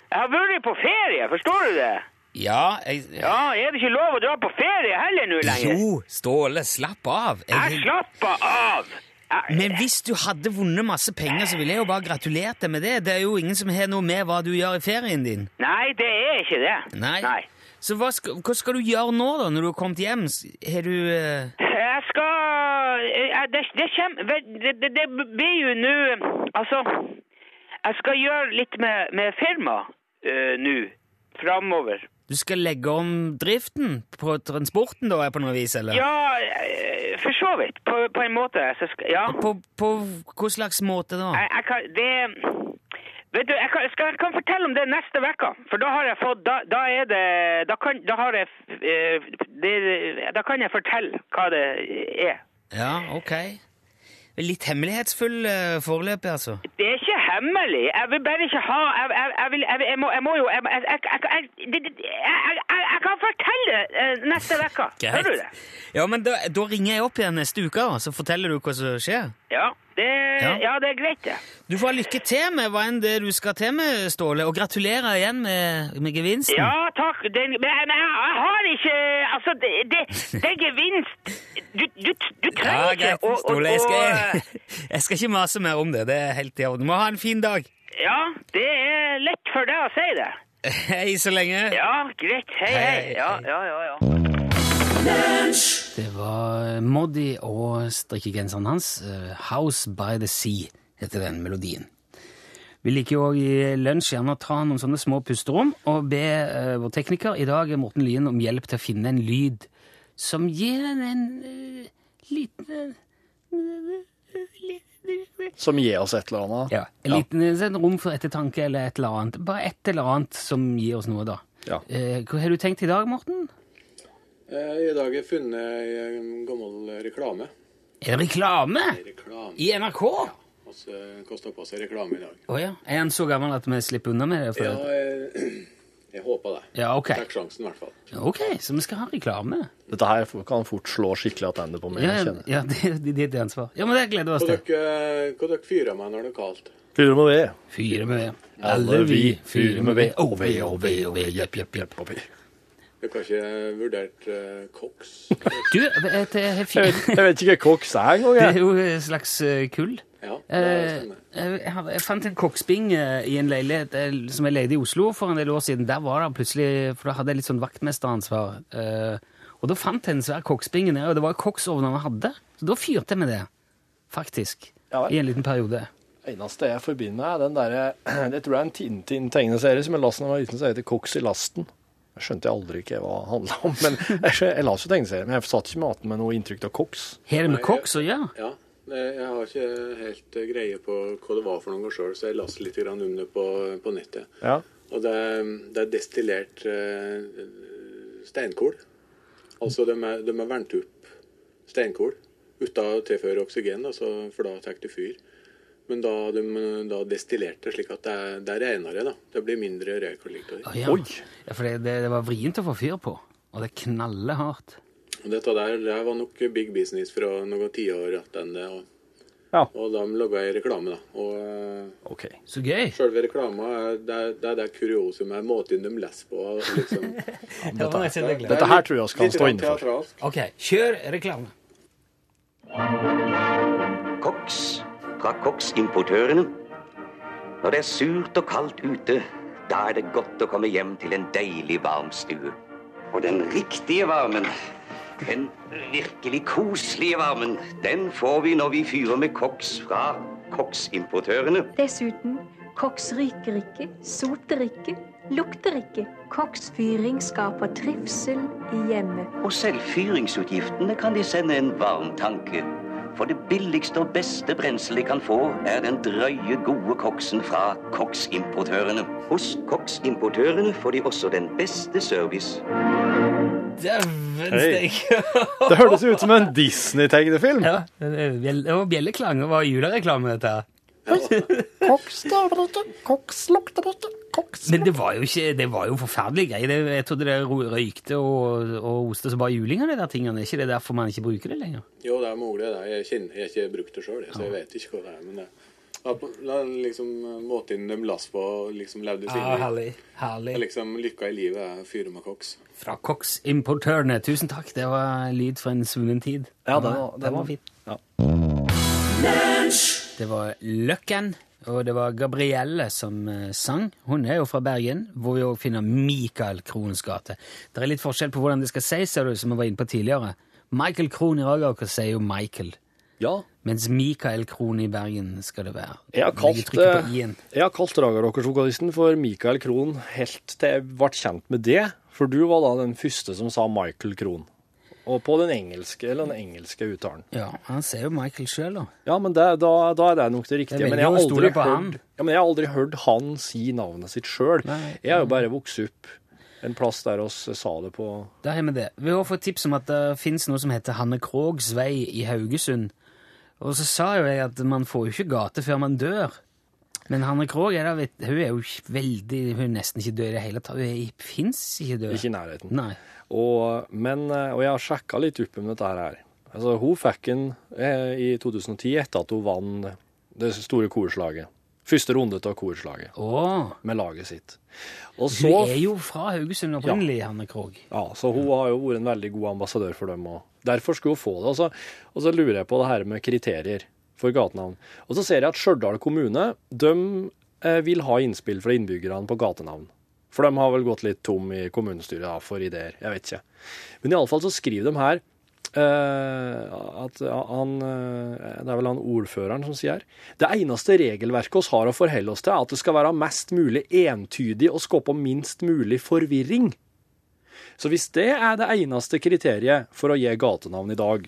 Speaker 7: Jeg har vært på ferie, forstår du det?
Speaker 2: Ja, jeg
Speaker 7: Ja, er det ikke lov å dra på ferie heller nå lenger?
Speaker 2: Jo, Ståle, slapp av.
Speaker 7: Jeg slapper av! Jeg-
Speaker 2: Men hvis du hadde vunnet masse penger, så ville jeg jo bare gratulert deg med det. Det er jo ingen som har noe med hva du gjør i ferien din.
Speaker 7: Nei, det er ikke det.
Speaker 2: Nei. Så hva skal, hva skal du gjøre nå, da, når du har kommet hjem? S- Har du eh,
Speaker 7: Jeg skal jeg- Det, det, kjem, det, det, det blir jo nå Altså, jeg skal gjøre litt med, med firma eh, nå. Framover.
Speaker 2: Du skal legge om driften på transporten, da, på noe vis, eller?
Speaker 7: Ja, eh, for så vidt. På, på en måte. Så skal, ja.
Speaker 2: På, på hva slags måte, da?
Speaker 7: Jeg, jeg kan Det Vet du, jeg kan, skal, jeg kan fortelle om det neste uke. For da har jeg fått Da, da er det Da kan, da har jeg, eh, det, da kan jeg fortelle hva det er.
Speaker 2: Ja, ok. Litt hemmelighetsfull eh, foreløpig, altså.
Speaker 7: Det er ikke hemmelig. Jeg vil bare ikke ha Jeg, jeg, jeg, vil, jeg, jeg, må, jeg må jo jeg, jeg, jeg, jeg, jeg, det- det- jeg, jeg- jeg, jeg kan fortelle det eh, neste uke. Hører du det?
Speaker 2: Ja, men da, da ringer jeg opp igjen neste uke, da, så forteller du hva som skjer.
Speaker 7: Ja. Det,
Speaker 2: Ja.
Speaker 7: ja. det er greit, det.
Speaker 2: Du får ha lykke til med hva enn det du skal til med, Ståle, og gratulerer igjen med, med gevinsten.
Speaker 7: Ja, takk. Den, men jeg, men jeg, jeg har ikke Altså, det, det, det er gevinst Du, du, du trenger
Speaker 2: Ja,
Speaker 7: ikke
Speaker 2: greit, Ståle. Jeg skal, jeg skal ikke mase mer om det. Det er helt i orden. Du må ha en fin dag.
Speaker 7: Ja, det er lett for deg å si det.
Speaker 2: Hei så lenge.
Speaker 7: Ja, greit. Hei,
Speaker 2: Hei,
Speaker 7: hei.
Speaker 2: hei,
Speaker 7: Ja,
Speaker 2: hei.
Speaker 7: ja, ja. ja.
Speaker 2: Det var Moddi og strikkegenseren hans. eh, House by the Sea heter den melodien. Vi liker jo også i lunsj gjerne å ta noen sånne små pusterom og be eh, vår tekniker, i dag Morten Lyen, om hjelp til å finne en lyd som gir en, en eh, liten eh,
Speaker 4: Som gir oss et eller annet.
Speaker 2: Ja, en liten en rom for ettertanke eller et eller annet. Bare et eller annet som gir oss noe, da.
Speaker 4: Ja.
Speaker 2: Eh, hva har du tenkt i dag, Morten?
Speaker 3: Eh, I dag har jeg funnet en gammel reklame.
Speaker 2: Er det reklame
Speaker 3: Reklame.
Speaker 2: i NRK? Å ja.
Speaker 3: Altså, Kosta på seg reklame i dag.
Speaker 2: Er han så gammel at vi slipper unna med det? For
Speaker 3: Ja,
Speaker 2: det?
Speaker 3: jeg, jeg håper det.
Speaker 2: Ja, ok.
Speaker 3: Takk sjansen, i hvert fall.
Speaker 2: Ok, så vi skal ha reklame.
Speaker 4: Dette her kan fort slå skikkelig attende på meg.
Speaker 2: Ja,
Speaker 4: jeg
Speaker 2: ja,
Speaker 4: kjenner.
Speaker 2: ja det, det, det er ditt ansvar. Ja, men det gleder vi oss
Speaker 3: Hva
Speaker 2: til.
Speaker 3: dere, eh, hva dere fyrer meg når det er kaldt?
Speaker 4: Fyrer med ved.
Speaker 2: Fyre med ved.
Speaker 4: Alle vi
Speaker 2: fyrer med ved.
Speaker 4: og ved og ved og ved. Jepp, jepp, jepp. og ved.
Speaker 3: Dere har ikke vurdert eh, koks?
Speaker 2: Du, et, et,
Speaker 4: Jeg vet, jeg vet ikke hva koks er engang.
Speaker 2: det er
Speaker 4: jeg.
Speaker 2: jo et slags eh, kull.
Speaker 3: Ja, det
Speaker 2: Eh,
Speaker 3: stemmer.
Speaker 2: jeg, har- jeg fant en koksbing eh, i en leilighet eh, som jeg leide i Oslo for en del år siden. Der var det plutselig, for da hadde jeg litt sånn vaktmesteransvar. Eh, og da fant jeg en svær koksbing nede, og det var koksovner vi hadde. Så da fyrte jeg med det, faktisk.
Speaker 4: Ja vel.
Speaker 2: I en liten periode.
Speaker 4: eneste jeg forbinder med, er den derre Jeg tror det er en Tintin-tegneserie som jeg leste da jeg var liten, som heter Koks i lasten.
Speaker 5: Jeg skjønte aldri ikke hva det handla om, men jeg, skjø- jeg las jo tegneserien. Men jeg satt ikke med igjen med noe inntrykk av koks.
Speaker 2: Har det med koks å gjøre?
Speaker 3: Ja. eh, Jeg har ikke helt eh, greie på hva det var for noe sjøl, så jeg leste litt grann om det på, på nettet.
Speaker 5: Ja.
Speaker 3: Og det er, det er destillert eh, steinkål. Altså de er, de er varmt opp steinkål uten å tilføre oksygen, altså, for da tar det fyr. Men da de eh, da destillerte slik at det er, det er renere, da. Det blir mindre røyk og likt.
Speaker 2: Å, ja.
Speaker 5: Oi.
Speaker 2: Ja, for det, det, det var vrient å få fyr på, og det knaller hardt.
Speaker 3: Og Dette der, det her var nok big business fra noen tiår tilbake. Og,
Speaker 5: Ja.
Speaker 3: og de laga ei reklame, da. Og eh,
Speaker 5: OK.
Speaker 2: Så gøy!
Speaker 3: sjølve reklama er det, er- det er det kuriosum er måten de leser på. og Liksom.
Speaker 5: Dette her tror jeg vi kan stå inne for.
Speaker 2: Ok, kjør reklame.
Speaker 8: Koks fra koksimportørene. Når det er surt og kaldt ute, da er det godt å komme hjem til en deilig varm stue. Og den riktige varmen, den virkelig koselige varmen, den får vi når vi fyrer med koks fra koksimportørene.
Speaker 1: Dessuten, koks ryker ikke, soter ikke, lukter ikke. Koksfyring skaper trivsel i hjemmet.
Speaker 8: Og selv fyringsutgiftene kan de sende en varm tanke. For det billigste og beste brenselet de kan få, er den drøye, gode koksen fra koksimportørene. Hos koksimportørene får de også den beste service.
Speaker 2: Dæven
Speaker 5: Hei.
Speaker 2: steike!
Speaker 5: Det hørtes ut som en Disney-tegnefilm.
Speaker 2: Ja, det er bjell- det var bjelleklang, det var julereklame, dette her.
Speaker 5: Koks der borte, koks lukter borte, koks
Speaker 2: Men det var jo ikke, det var jo forferdelige greier. Det- Jeg trodde det ro- røykte og, og oste som bare juling av de der tingene. Er ikke det derfor man ikke bruker det lenger?
Speaker 3: Jo, det er mulig. Det. Jeg, kjenner, jeg har ikke brukt det sjøl, så jeg vet ikke hva det er. Men det det er på- det er liksom måten de leser på og liksom levde sine liv. Det er
Speaker 2: Ah, herlig.
Speaker 3: Liksom, Lykka i livet er å fyre med koks.
Speaker 2: Fra koksimportørene. Tusen takk, det var lyd fra en svunnen tid.
Speaker 5: Ja, det var- det
Speaker 2: den
Speaker 5: var-
Speaker 2: var fin. Det var Løkken, og det var Gabrielle som eh, sang. Hun er jo fra Bergen, hvor vi òg finner Michael Krohns gate. Det er litt forskjell på hvordan det skal sies, ser du, som vi var inne på tidligere. Michael Krohn i Ragaker sier jo Michael,
Speaker 5: Ja.
Speaker 2: mens Michael Krohn i Bergen skal det være.
Speaker 5: Jeg har
Speaker 2: Legger
Speaker 5: kalt,
Speaker 2: trykket på
Speaker 5: eh,
Speaker 2: i-en.
Speaker 5: jeg har kalt Ragarokers-vokalisten for Michael Krohn helt til jeg ble kjent med det. For du var da den første som sa Michael Krohn. Og på den engelske, eller den engelske uttalen.
Speaker 2: Ja, han sier jo Michael sjøl, da.
Speaker 5: Ja, men det, da, da er det nok det riktige.
Speaker 2: Det er
Speaker 5: men, jeg har
Speaker 2: veldig å
Speaker 5: aldri
Speaker 2: stole på
Speaker 5: hørt,
Speaker 2: han.
Speaker 5: ja, men jeg har aldri hørt han si navnet sitt sjøl.
Speaker 2: Nei.
Speaker 5: Jeg har jo bare vokst opp en plass der oss sa det på
Speaker 2: Da har vi det. Vi har fått tips om at det fins noe som heter Hanne Krogs vei i Haugesund. Og så sa jo jeg at man får jo ikke gate før man dør. Men Hanne Krog er da, vet, hun er jo ikke veldig Hun er nesten ikke død i det hele tatt. Hun fins ikke død.
Speaker 5: Ikke i nærheten.
Speaker 2: Nei.
Speaker 5: Og, men, eh, og jeg har sjekka litt opp om dette her. Altså, hun fikk den eh, i 2010 etter at hun vant det store korslaget. Første runde av korslaget
Speaker 2: Å!
Speaker 5: med laget sitt. Og
Speaker 2: Hun
Speaker 5: så,
Speaker 2: er jo fra Haugesund opprinnelig, Hanne Krog.
Speaker 5: ja, så hun har jo vært en veldig god ambassadør for dem òg. Derfor skulle hun få det. Og så, og så lurer jeg på det her med kriterier for gatenavn. Og så ser jeg at Stjørdal kommune de eh, vil ha innspill fra innbyggerne på gatenavn. For de har vel gått litt tom i kommunestyret da, for ideer. Jeg vet ikke. Men iallfall så skriver de her eh, at han eh, Det er vel han ordføreren som sier her Det eneste regelverket oss har å forholde oss til, er at det skal være mest mulig entydig og skape minst mulig forvirring. Så hvis det er det eneste kriteriet for å gi gatenavn i dag,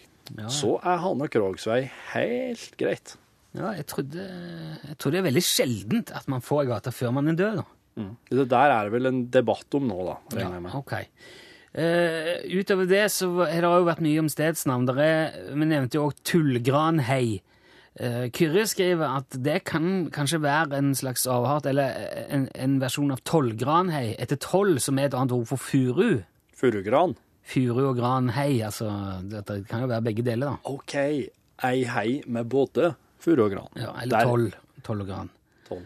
Speaker 5: så er Hanne Krogsvei helt greit.
Speaker 2: Ja, jeg trodde, jeg trodde det er veldig sjeldent at man får ei gate før man er død, da.
Speaker 5: Det der er det vel en debatt om nå, da.
Speaker 2: Ja,
Speaker 5: regner jeg med.
Speaker 2: ok. Eh, utover det så har det jo vært mye om stedsnavn. Der er, vi nevnte jo også Tullgranhei. Eh, Kyrre skriver at det kan kanskje være en slags avart, eller en, en versjon av Tollgranhei, etter toll, som er et annet ord for furu.
Speaker 5: Furugran.
Speaker 2: Furu og granhei, altså dette kan jo være begge deler, da.
Speaker 5: OK, ei hei med både furu og gran.
Speaker 2: Ja,
Speaker 5: Der.
Speaker 2: eller toll. Toll og gran.
Speaker 5: Toll.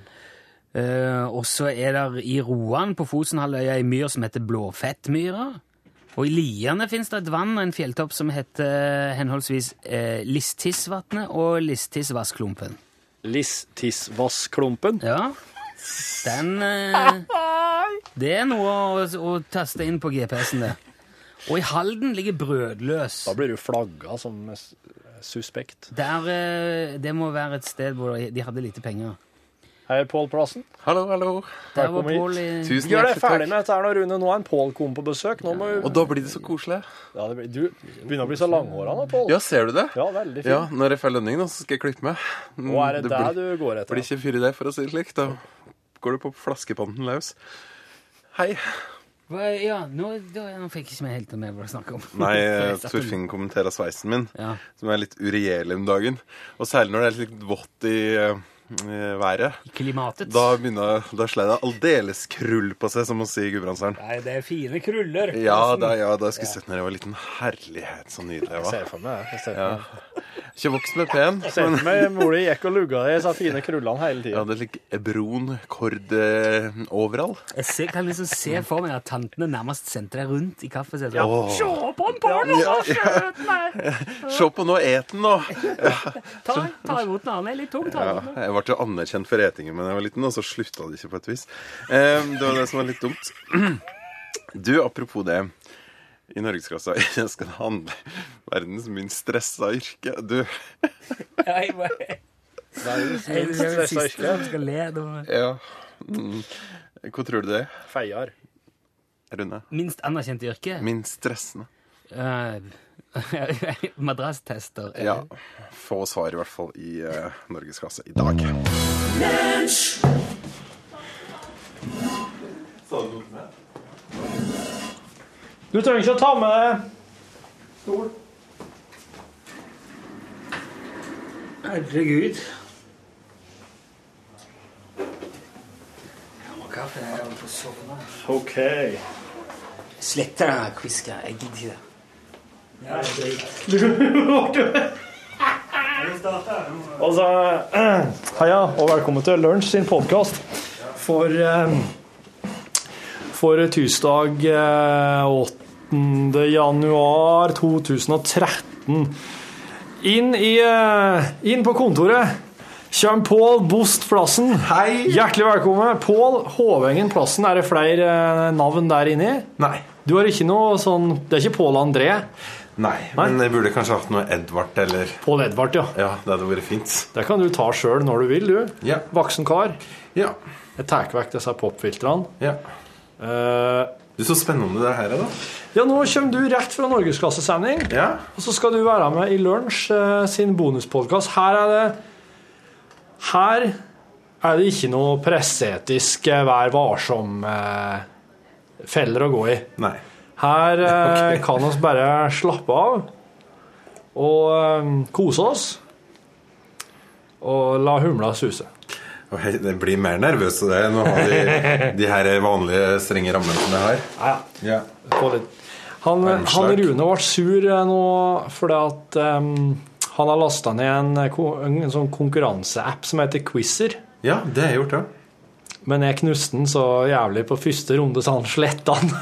Speaker 2: Eh, og så er det i Roan på Fosenhalvøya ei myr som heter Blåfettmyra. Og i Lierne fins det et vann og en fjelltopp som heter henholdsvis eh, Listissvatnet og Listissvassklumpen.
Speaker 5: Listissvassklumpen.
Speaker 2: Ja, den eh, Det er noe å, å taste inn på GPS-en, det. Og i Halden ligger Brødløs.
Speaker 5: Da blir du flagga som s- suspekt.
Speaker 2: Der, eh, det må være et sted hvor de hadde lite penger.
Speaker 5: Hei, Pål Plassen.
Speaker 9: Hallo, hallo.
Speaker 2: Der var
Speaker 5: kom hit.
Speaker 2: Pål i
Speaker 9: Tusen
Speaker 5: Gjør deg
Speaker 9: hjertelig
Speaker 5: ferdig
Speaker 9: takk.
Speaker 5: med dette her nå, Rune. Nå er en Pål kom på besøk. Nå må
Speaker 9: Og da blir det så koselig.
Speaker 5: ja, det blir, Du begynner å bli så langhåra nå, Pål.
Speaker 9: Ja, ser du det?
Speaker 5: Ja, veldig
Speaker 9: Ja,
Speaker 5: fint.
Speaker 9: når jeg får lønning, nå, så skal jeg klippe meg. Mm,
Speaker 5: Og er det, der
Speaker 9: blir,
Speaker 5: du går etter?
Speaker 9: blir ikke fyr i det, for å si det slik. Da går du på flaskepanten løs. Hei.
Speaker 2: Hva- Ja, nå, da, nå fikk jeg ikke med helt med hva du snakker om.
Speaker 9: Nei, eh,
Speaker 2: Så jeg satt og-
Speaker 9: Torfinn kommenterer sveisen min,
Speaker 2: Ja.
Speaker 9: som er litt uregjerlig om dagen. Og særlig når det er litt vått i, eh, i været.
Speaker 2: Klimatet.
Speaker 9: Da begynner da slår det aldeles krull på seg, som man sier i Gudbrandsdalen.
Speaker 2: Nei, det er fire kruller.
Speaker 9: Ja, da, ja, da skulle jeg sett når jeg var liten. Herlighet, så nydelig jeg var.
Speaker 5: Ser for meg, jeg ser for meg.
Speaker 9: Ikke voksen med pen,
Speaker 5: Ser
Speaker 9: men
Speaker 5: for meg mor di gikk og lugga i disse fine krullene hele
Speaker 9: jeg
Speaker 5: tida.
Speaker 9: hadde slik bron kord eh, overall.
Speaker 2: Jeg ser, kan liksom se for meg at tantene nærmest sendte deg rundt i kaffesetet. Sånn,
Speaker 9: Åh.
Speaker 2: Se på en porno, så skjøt meg!
Speaker 9: Se på nå, et den nå!
Speaker 2: Ta, ta imot den, han er litt tung. Ta
Speaker 9: Ja,
Speaker 2: imot den.
Speaker 9: jeg ble jo anerkjent for etingen men jeg var liten, og så slutta det ikke på et vis. Eh, Det var det som var litt dumt. Du, apropos det. I norgesklassa jeg skal det handle verdens minst stressa yrke. Du,
Speaker 2: Jeg bare- Jeg er den siste som skal le. nå.
Speaker 9: ja mm. Hva tror du det er,
Speaker 5: Feiar.
Speaker 9: Rune?
Speaker 2: Minst anerkjente yrke?
Speaker 9: Minst stressende?
Speaker 2: Eh, Madrasstester.
Speaker 9: Ja. Få svar, i hvert fall, i eh, norgesklasse i dag.
Speaker 5: Du trenger ikke å ta med deg stol.
Speaker 2: Herregud. Jeg må ha kaffe, jeg holder på å sovne.
Speaker 5: OK.
Speaker 2: Slett den her quizken. Jeg gidder ikke det. Ja, det er greit.
Speaker 5: Altså, heia, og velkommen til Lunsj sin podkast for eh, For tirsdag eh, 8. januar 2013. Inn i eh, Inn på kontoret kommer Pål Bost Plassen.
Speaker 9: Hei.
Speaker 5: Hjertelig velkommen. Pål Håvengen Plassen. Er det flere eh, navn der inni?
Speaker 9: Nei.
Speaker 5: Du har ikke noe sånn Det er ikke Pål André.
Speaker 9: Nei. Men jeg burde kanskje hatt noe Edvard eller
Speaker 5: Pål Edvard, ja.
Speaker 9: Ja, det hadde vært fint.
Speaker 5: Det kan du ta sjøl når du vil, du.
Speaker 9: Ja.
Speaker 5: Voksen kar.
Speaker 9: Ja.
Speaker 5: Jeg tar vekk disse popfiltrene.
Speaker 9: ja.
Speaker 5: Eh,
Speaker 9: Du, så spennende det her er, da.
Speaker 5: ja, nå kommer du rett fra norgesklassesending.
Speaker 9: Ja.
Speaker 5: Og så skal du være med i Lunsj eh, sin bonuspodkast. Her er det Her er det ikke noe presseetisk eh, vær varsom-feller å gå i.
Speaker 9: Nei.
Speaker 5: Her eh, kan oss bare slappe av og eh, kose oss. Og la humla suse.
Speaker 9: Og jeg jeg blir mer nervøs av det enn å ha de, de her vanlige strenge rammene som jeg har.
Speaker 5: Ja, ja.
Speaker 9: Ja.
Speaker 5: på litt. Han, han
Speaker 9: Armslag.
Speaker 5: Rune ble sur eh, nå fordi at em, han har lasta ned en, eh, ko- en sånn konkurranseapp som heter Quizzer.
Speaker 9: ja, det har jeg gjort, ja.
Speaker 5: Men jeg knuste den så jævlig på første runde, så han sletta den.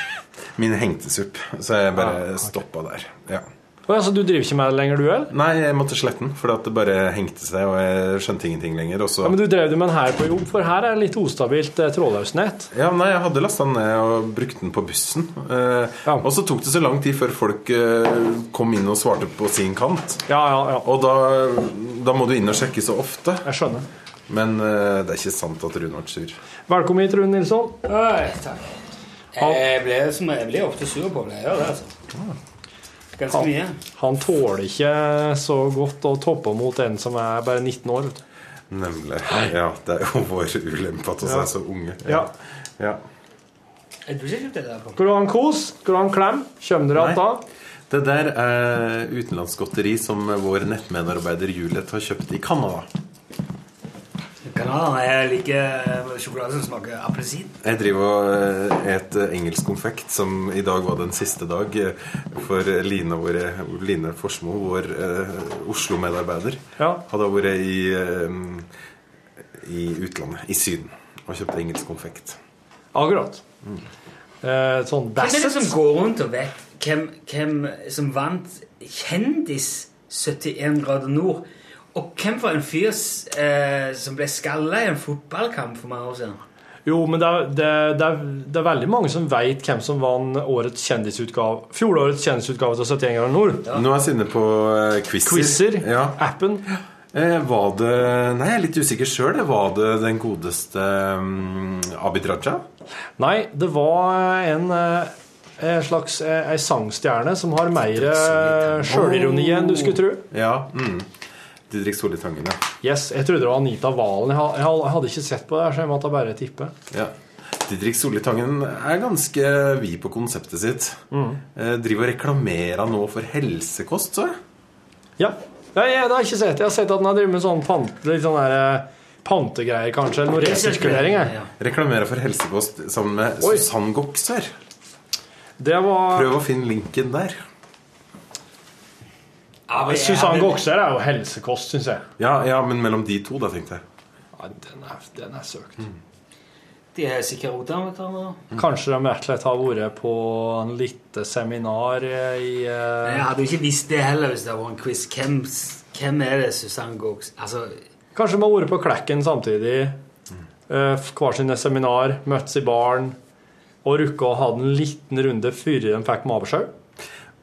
Speaker 9: Min hengtes opp, så jeg bare stoppa der. Ja.
Speaker 5: Å ja, så du driver ikke med det lenger, du heller?
Speaker 9: Nei, jeg måtte slette den, for det bare hengte seg, og jeg skjønte ingenting lenger. Og så
Speaker 5: Ja, men du drev det med den her på jobb, for her er det litt ustabilt eh, trådløst nett.
Speaker 9: Ja, nei, jeg hadde lasta den ned og brukt den på bussen. Eh,
Speaker 5: Ja.
Speaker 9: Og så tok det så lang tid før folk eh, kom inn og svarte på sin kant.
Speaker 5: Ja, ja, ja.
Speaker 9: Og da, da må du inn og sjekke så ofte.
Speaker 5: Jeg skjønner.
Speaker 9: Men eh, det er ikke sant at Rune ble sur.
Speaker 5: Velkommen hit, Rune Nilsson.
Speaker 2: Oi, takk. Jeg blir, som, jeg blir ofte sur på det. Jeg gjør det, altså. Ganske mye.
Speaker 5: Han tåler ikke så godt å toppe mot en som er bare 19 år. vet du.
Speaker 9: Nemlig. Ja, det er jo vår ulempe at vi er så unge.
Speaker 5: Ja.
Speaker 9: ja.
Speaker 2: Jeg tror ikke jeg kjøpte det der på.
Speaker 5: Skal du ha en kos? Skal du ha en klem? Kommer dere igjen da?
Speaker 9: Det der er utenlandsgodteri som vår nettmedarbeider Juliet har kjøpt i Canada.
Speaker 2: Kanalen er like sjokolade som smaker appelsin.
Speaker 9: Jeg driver og eh, et eh, engelsk konfekt som i dag var den siste dag eh, for Line, vår, eh, Line Forsmo, vår eh, Oslo-medarbeider.
Speaker 5: Ja.
Speaker 9: Hadde vært i, eh, i utlandet, i Syden, og kjøpt engelsk konfekt.
Speaker 5: Akkurat. Eh,
Speaker 2: Hvem er liksom-
Speaker 5: sånn
Speaker 2: det
Speaker 5: dasset.
Speaker 2: som går rundt og vet hvem, hvem som vant Kjendis 71 grader nord? Og hvem var en fyr s- eh, som ble skalla i en fotballkamp for mange år siden?
Speaker 5: Jo, men det er, det, er- det, er, det er veldig mange som veit hvem som vant årets kjendisutgave fjorårets kjendisutgave til 71 grader nord.
Speaker 9: Nå er jeg inne på eh, quizer.
Speaker 5: Quizer,
Speaker 9: Ja.
Speaker 5: appen.
Speaker 9: Eh, Var det Nei, jeg er litt usikker sjøl. Var det den godeste mm, Abid Raja?
Speaker 5: Nei, det var en eh, en slags eh, ei sangstjerne som har mer eh, sjølironi enn du skulle tro.
Speaker 9: Ja. Mm. Didrik Solli Tangen, ja.
Speaker 5: Yes, Jeg trodde det var Anita Valen. Jeg, ha- jeg ha- jeg hadde ikke sett på det, her, så jeg måtte bare tippe.
Speaker 9: Ja. Didrik Solli Tangen er ganske vid på konseptet sitt.
Speaker 5: Mm.
Speaker 9: Eh, Driver og reklamerer nå for helsekost, så jeg.
Speaker 5: Ja. Nei, jeg, det har jeg ikke sett. Jeg har sett at den har drevet med sånn pant, litt sånn der, eh, pantegreier, kanskje. Eller noe resirkulering. jeg.
Speaker 9: Reklamerer for helsekost sammen med
Speaker 5: Oi.
Speaker 9: Susann Goksør.
Speaker 5: Det var
Speaker 9: Prøv å finne linken der.
Speaker 5: Susann Goksør er jo helsekost, syns jeg.
Speaker 9: Ja, ja, men mellom de to, da, tenkte jeg.
Speaker 5: Ja, den, er, den er søkt.
Speaker 2: De er sikkert odametanere.
Speaker 5: Kanskje de rett og slett har vært på en lite seminar eh, i eh,
Speaker 2: Jeg hadde jo ikke visst det heller hvis det var en quiz. Hvem, hvem er det Susanne Gox Altså,
Speaker 5: Kanskje de har vært på Klekken samtidig. eh, f- Hver sine seminar, møttes i baren og rukka og hadde en liten runde før de fikk mavesjau.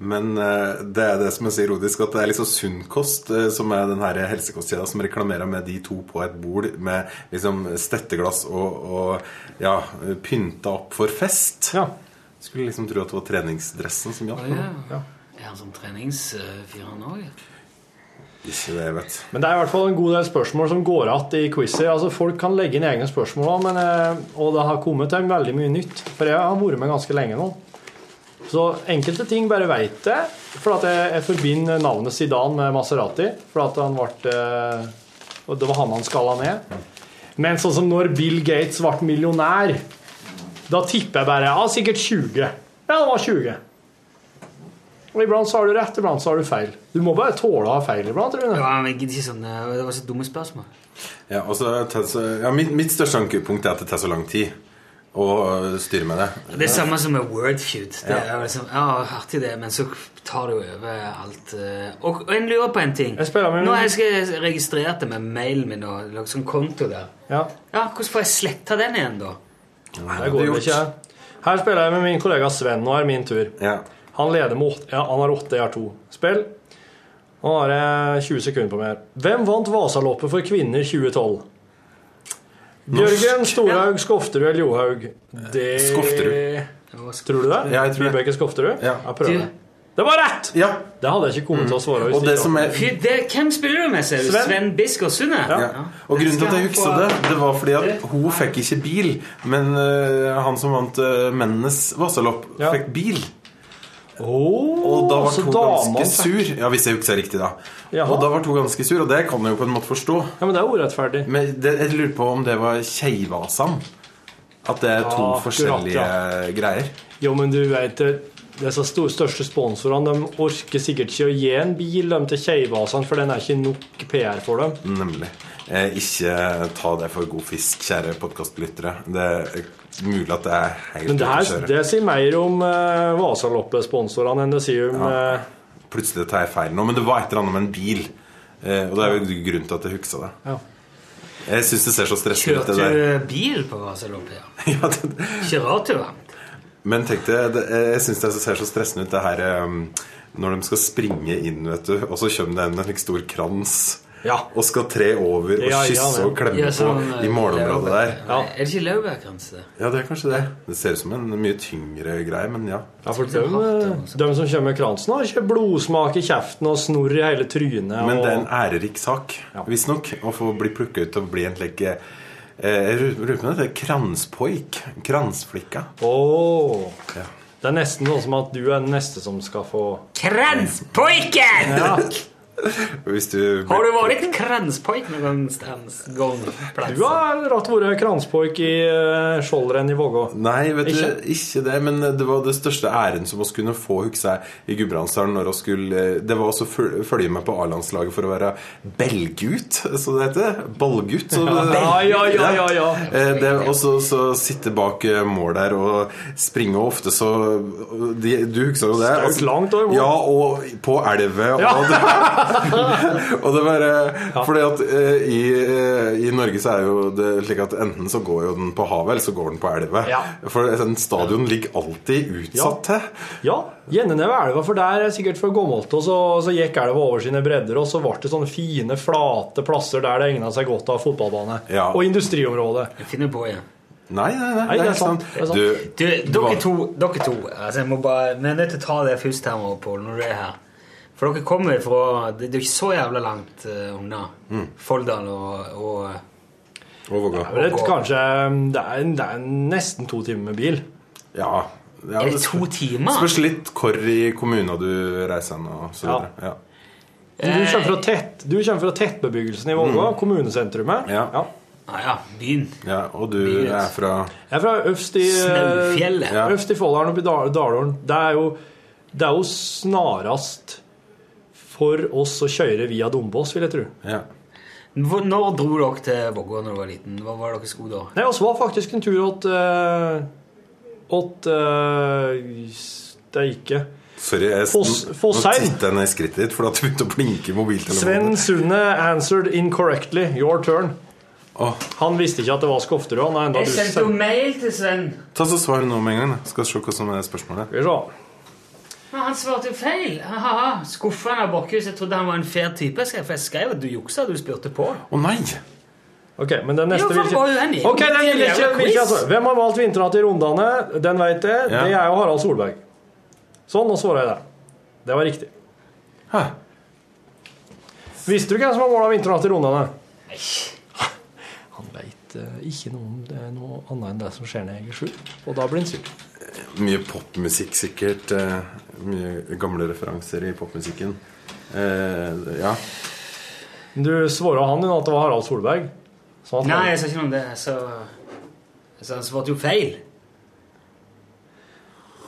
Speaker 9: Men eh, det er det som er så ironisk, at det er liksom Sunnkost, eh, som er den her helsekostkjeda, som reklamerer med de to på et bord med liksom stetteglass og, og ja, pynta opp for fest.
Speaker 5: Ja.
Speaker 9: Skulle liksom tro at det var treningsdressen som hjalp.
Speaker 2: ja.
Speaker 5: Ja.
Speaker 2: Er han sånn som treningsfyr, han òg?
Speaker 9: Ikke det, vet
Speaker 5: Men det er i hvert fall en god del spørsmål som går igjen i quizer. Altså, folk kan legge inn egne spørsmål, også, men, eh, og det har kommet til veldig mye nytt. For jeg har vært med ganske lenge nå. Så enkelte ting bare veit jeg. For at jeg, jeg forbinder navnet Zidane med Maserati. For at han ble eh, Og det var han han skalla ned. Men sånn som når Bill Gates ble millionær, da tipper jeg bare ja, sikkert 20. Ja, det var 20. Og iblant så har du rett, iblant så har du feil. Du må bare tåle å ha feil iblant, Rune.
Speaker 2: Ja, men jeg gidder ikke sånn eh, Det var så dumme spørsmål.
Speaker 9: Ja, altså, ta så- ja, mitt, mitt største ankepunkt er at det tar så lang tid å øh, styre med det.
Speaker 2: Det er samme som med Wordfeud. Det er jo liksom, ja, artig det, men så tar det jo over alt. eh, Og, og en lurer på en ting.
Speaker 5: Jeg spiller med-
Speaker 2: Nå har jeg skal- registrert det med mailen min og lagt sånn konto der.
Speaker 5: Ja.
Speaker 2: Ja, Hvordan får jeg sletta den igjen, da?
Speaker 5: Det går vel ikke. Her spiller jeg med min kollega Sven. Nå er det min tur.
Speaker 9: Ja.
Speaker 5: Han leder med åtte, ja, han har åtte, jeg har to. Spill. Nå har jeg 20 sekunder på mer. Hvem vant Vasaloppet for kvinner 2012? Bjørgen, Storhaug, Skofterud eller Johaug? Det
Speaker 9: Skofterud.
Speaker 5: Tror du det?
Speaker 9: Ja, jeg tror det.
Speaker 5: Vibeke Skofterud?
Speaker 9: Ja.
Speaker 5: Jeg prøver det. Det var rett!
Speaker 9: Ja,
Speaker 5: Det hadde jeg ikke kommet til å svare
Speaker 9: Mm.
Speaker 5: hvis
Speaker 9: og det som er...
Speaker 2: Fy, det, hvem spiller du med, ser du?
Speaker 5: Sven.
Speaker 2: Sven, Bisker Sunde?
Speaker 9: Ja. Og grunnen til at jeg
Speaker 2: Den skal
Speaker 9: huksa det,
Speaker 2: han
Speaker 9: det var fordi at hun fikk ikke bil, men øh, han som vant øh, mennenes Vasalopp,
Speaker 5: Ja.
Speaker 9: fikk bil. Og
Speaker 5: Oh,
Speaker 9: da
Speaker 5: så
Speaker 9: ble hun
Speaker 5: damene
Speaker 9: ganske
Speaker 5: fikk-
Speaker 9: sur. Ja, hvis jeg huksa riktig, da.
Speaker 5: Jaha.
Speaker 9: Og da ble hun ganske sur, og det kan jeg jo på en måte forstå.
Speaker 5: Ja, men det er urettferdig.
Speaker 9: Men det, jeg lurer på om det var Keivasan. At det er to
Speaker 5: Ja, akkurat,
Speaker 9: forskjellige greier.
Speaker 5: Jo, men du vet det. Disse sto- største sponsorene de orker sikkert ikke å gi en bil dem til Keivasene, for den er ikke nok PR for dem.
Speaker 9: Nemlig. Eh, ikke ta det for god fisk, kjære podkastlyttere. Det er mulig at det er helt
Speaker 5: Men det, her,
Speaker 9: ute å kjøre.
Speaker 5: det sier mer om eh, Vasaloppet-sponsorene enn det sier om eh,
Speaker 9: Plutselig tar jeg feil nå, men det var et eller annet med en bil. Eh, og det er jo grunnen til at jeg huksa det.
Speaker 5: Ja.
Speaker 9: Jeg syns det ser så stressende ut,
Speaker 2: Kjørte
Speaker 9: det der.
Speaker 2: du Eh, bil på Vasaloppet? Ja.
Speaker 9: Ja, det,
Speaker 2: Ikke rart du vant.
Speaker 9: men tenk deg, det, jeg syns det ser så stressende ut, det her eh, når de skal springe inn, vet du, og så kommer det en med en slik stor krans.
Speaker 5: Ja.
Speaker 9: Og skal tre over og
Speaker 5: Ja, ja,
Speaker 9: kysse
Speaker 5: men-
Speaker 9: og klemme
Speaker 2: Ja, sånn,
Speaker 9: på i målområdet
Speaker 5: eh,
Speaker 9: der.
Speaker 2: Nei, Er det ikke laurbærgrense?
Speaker 9: Ja, det er kanskje det. Det ser ut som en mye tyngre greie, men ja.
Speaker 5: Ja, for dem, eh, dem som kommer med kransen, har ikke blodsmak i kjeften og snorr i hele trynet.
Speaker 9: Men
Speaker 5: og,
Speaker 9: det er en ærerik sak,
Speaker 5: Ja.
Speaker 9: visstnok, å få bli plukka ut og bli en slik eh, Jeg lurer på om det heter kranspoik. Kransflikka.
Speaker 5: Åh.
Speaker 9: Ja.
Speaker 5: det er nesten sånn som at du er den neste som skal få
Speaker 2: Kranspoiken!
Speaker 5: Ja,
Speaker 9: Hvis du
Speaker 2: Har du vært kranspoik noen gang? Stans, gang plass?
Speaker 5: Du har rett vært kranspåik i eh, Skjoldrenn i Vågå.
Speaker 9: Nei, vet
Speaker 5: Ikke?
Speaker 9: du, ikke det. Men det var det største æren som oss kunne få, husker jeg, i Gudbrandsdalen når oss skulle Det var også å føl- følge med på A-landslaget for å være belgut, som det heter. Ballgutt. så det-
Speaker 5: Ja, ja, ja, ja, ja.
Speaker 9: Eh, Det er også så sitte bak eh, mål der og springe, og ofte så de, Du husker jo det?
Speaker 5: Staut langt over mål.
Speaker 9: Ja, og på elvet. Og
Speaker 5: Ja.
Speaker 9: det, og det er bare Fordi at eh, i, eh, i Norge så er jo det slik at enten så går jo den på havet, eller så går den på elva.
Speaker 5: Ja.
Speaker 9: For en stadion ligger alltid utsatt til.
Speaker 5: Ja, gjerne ned ved elva, for der er sikkert fra gammelt og så, så gikk elva over sine bredder, og så ble det sånne fine, flate plasser der det egna seg godt av fotballbane.
Speaker 9: Ja.
Speaker 5: Og industriområde.
Speaker 10: Jeg finner på igjen.
Speaker 9: Nei, nei, nei.
Speaker 5: Nei,
Speaker 9: det er
Speaker 5: det er sant,
Speaker 9: sant.
Speaker 5: det er sant.
Speaker 9: Du,
Speaker 10: Du, dere to, dere to altså jeg må bare, Vi er nødt til å ta det først her, nå, Pål, når du er her. For dere kommer fra Det, det er jo ikke så jævla langt eh, unna. Folldal og, og
Speaker 9: Overgå.
Speaker 5: Det er kanskje mm, det er, det er nesten to timer med bil.
Speaker 9: Ja. ja
Speaker 10: Er det
Speaker 9: det
Speaker 10: to timer?
Speaker 9: Spørs litt hvor i kommunen du reiser hen, og så videre. Ja.
Speaker 5: Du kommer fra, tett, du kommer fra tettbebyggelsen i Vågå, kommunesentrumet.
Speaker 9: Mm. Ja.
Speaker 10: Ah, ja, byen.
Speaker 9: Ja, og du
Speaker 10: Yes.
Speaker 9: er fra
Speaker 5: Jeg er fra øvst i
Speaker 10: Snaufjellet.
Speaker 9: Ja.
Speaker 5: Øvst i Folldalen oppi Dal- Dalålen. Det er jo Det er jo snarest for oss å kjøre via Dombås, vil jeg tro.
Speaker 9: Ja.
Speaker 10: Hvor, når dro dere til Vågå når dere var liten? Hva var dere skulle da?
Speaker 5: Nei, oss var faktisk en tur åt uh, Åt eh, Det gikk ikke.
Speaker 9: Sorry, jeg
Speaker 5: Foss-
Speaker 9: nå-
Speaker 5: Fossheim.
Speaker 9: Nå titter jeg ned i skrittet ditt, for da begynte du å blinke i
Speaker 5: Sven
Speaker 9: mobiltelefonen.
Speaker 5: Sunde answered incorrectly. Your turn.
Speaker 9: Åh,
Speaker 5: Han visste ikke at det var Skofterud. Han har enda du sendte-
Speaker 10: mail til Sven.
Speaker 9: ta så Svar nå med en gang. da. Skal se hva som er spørsmålet.
Speaker 5: Skal vi se.
Speaker 10: Men han svarte jo feil. Ha-ha. Skuffa han av Borchhus. Jeg trodde han var en fair type. For jeg skrev at du juksa. Du spurte på.
Speaker 9: Å nei!
Speaker 5: Ok, men den neste
Speaker 10: Jo, for
Speaker 5: vil
Speaker 10: han var uenig.
Speaker 5: ikke Ok, den vil
Speaker 10: Det er
Speaker 5: ikke,
Speaker 10: jo
Speaker 5: vil
Speaker 10: quiz.
Speaker 5: ikke altså. Hvem har valgt vinternatt i Rondane? Den vet jeg.
Speaker 9: Ja.
Speaker 5: Det er jo Harald Solberg. Sånn, nå svarer jeg det. Det var riktig.
Speaker 9: Hæ?
Speaker 5: Visste du hvem som har måla vinternatt i Rondane? Han veit ikke noe om det er noe annet enn det som skjer nede i Egersund. Og da blir han sur.
Speaker 9: Mye popmusikk, sikkert. eh, Mye gamle referanser i popmusikken. Eh, ja.
Speaker 5: Men Du svora han din at det var Harald Solberg. Sånn Så han
Speaker 10: Nei,
Speaker 5: svarer.
Speaker 10: jeg sa ikke noe om det. Så, så han svarte jo feil.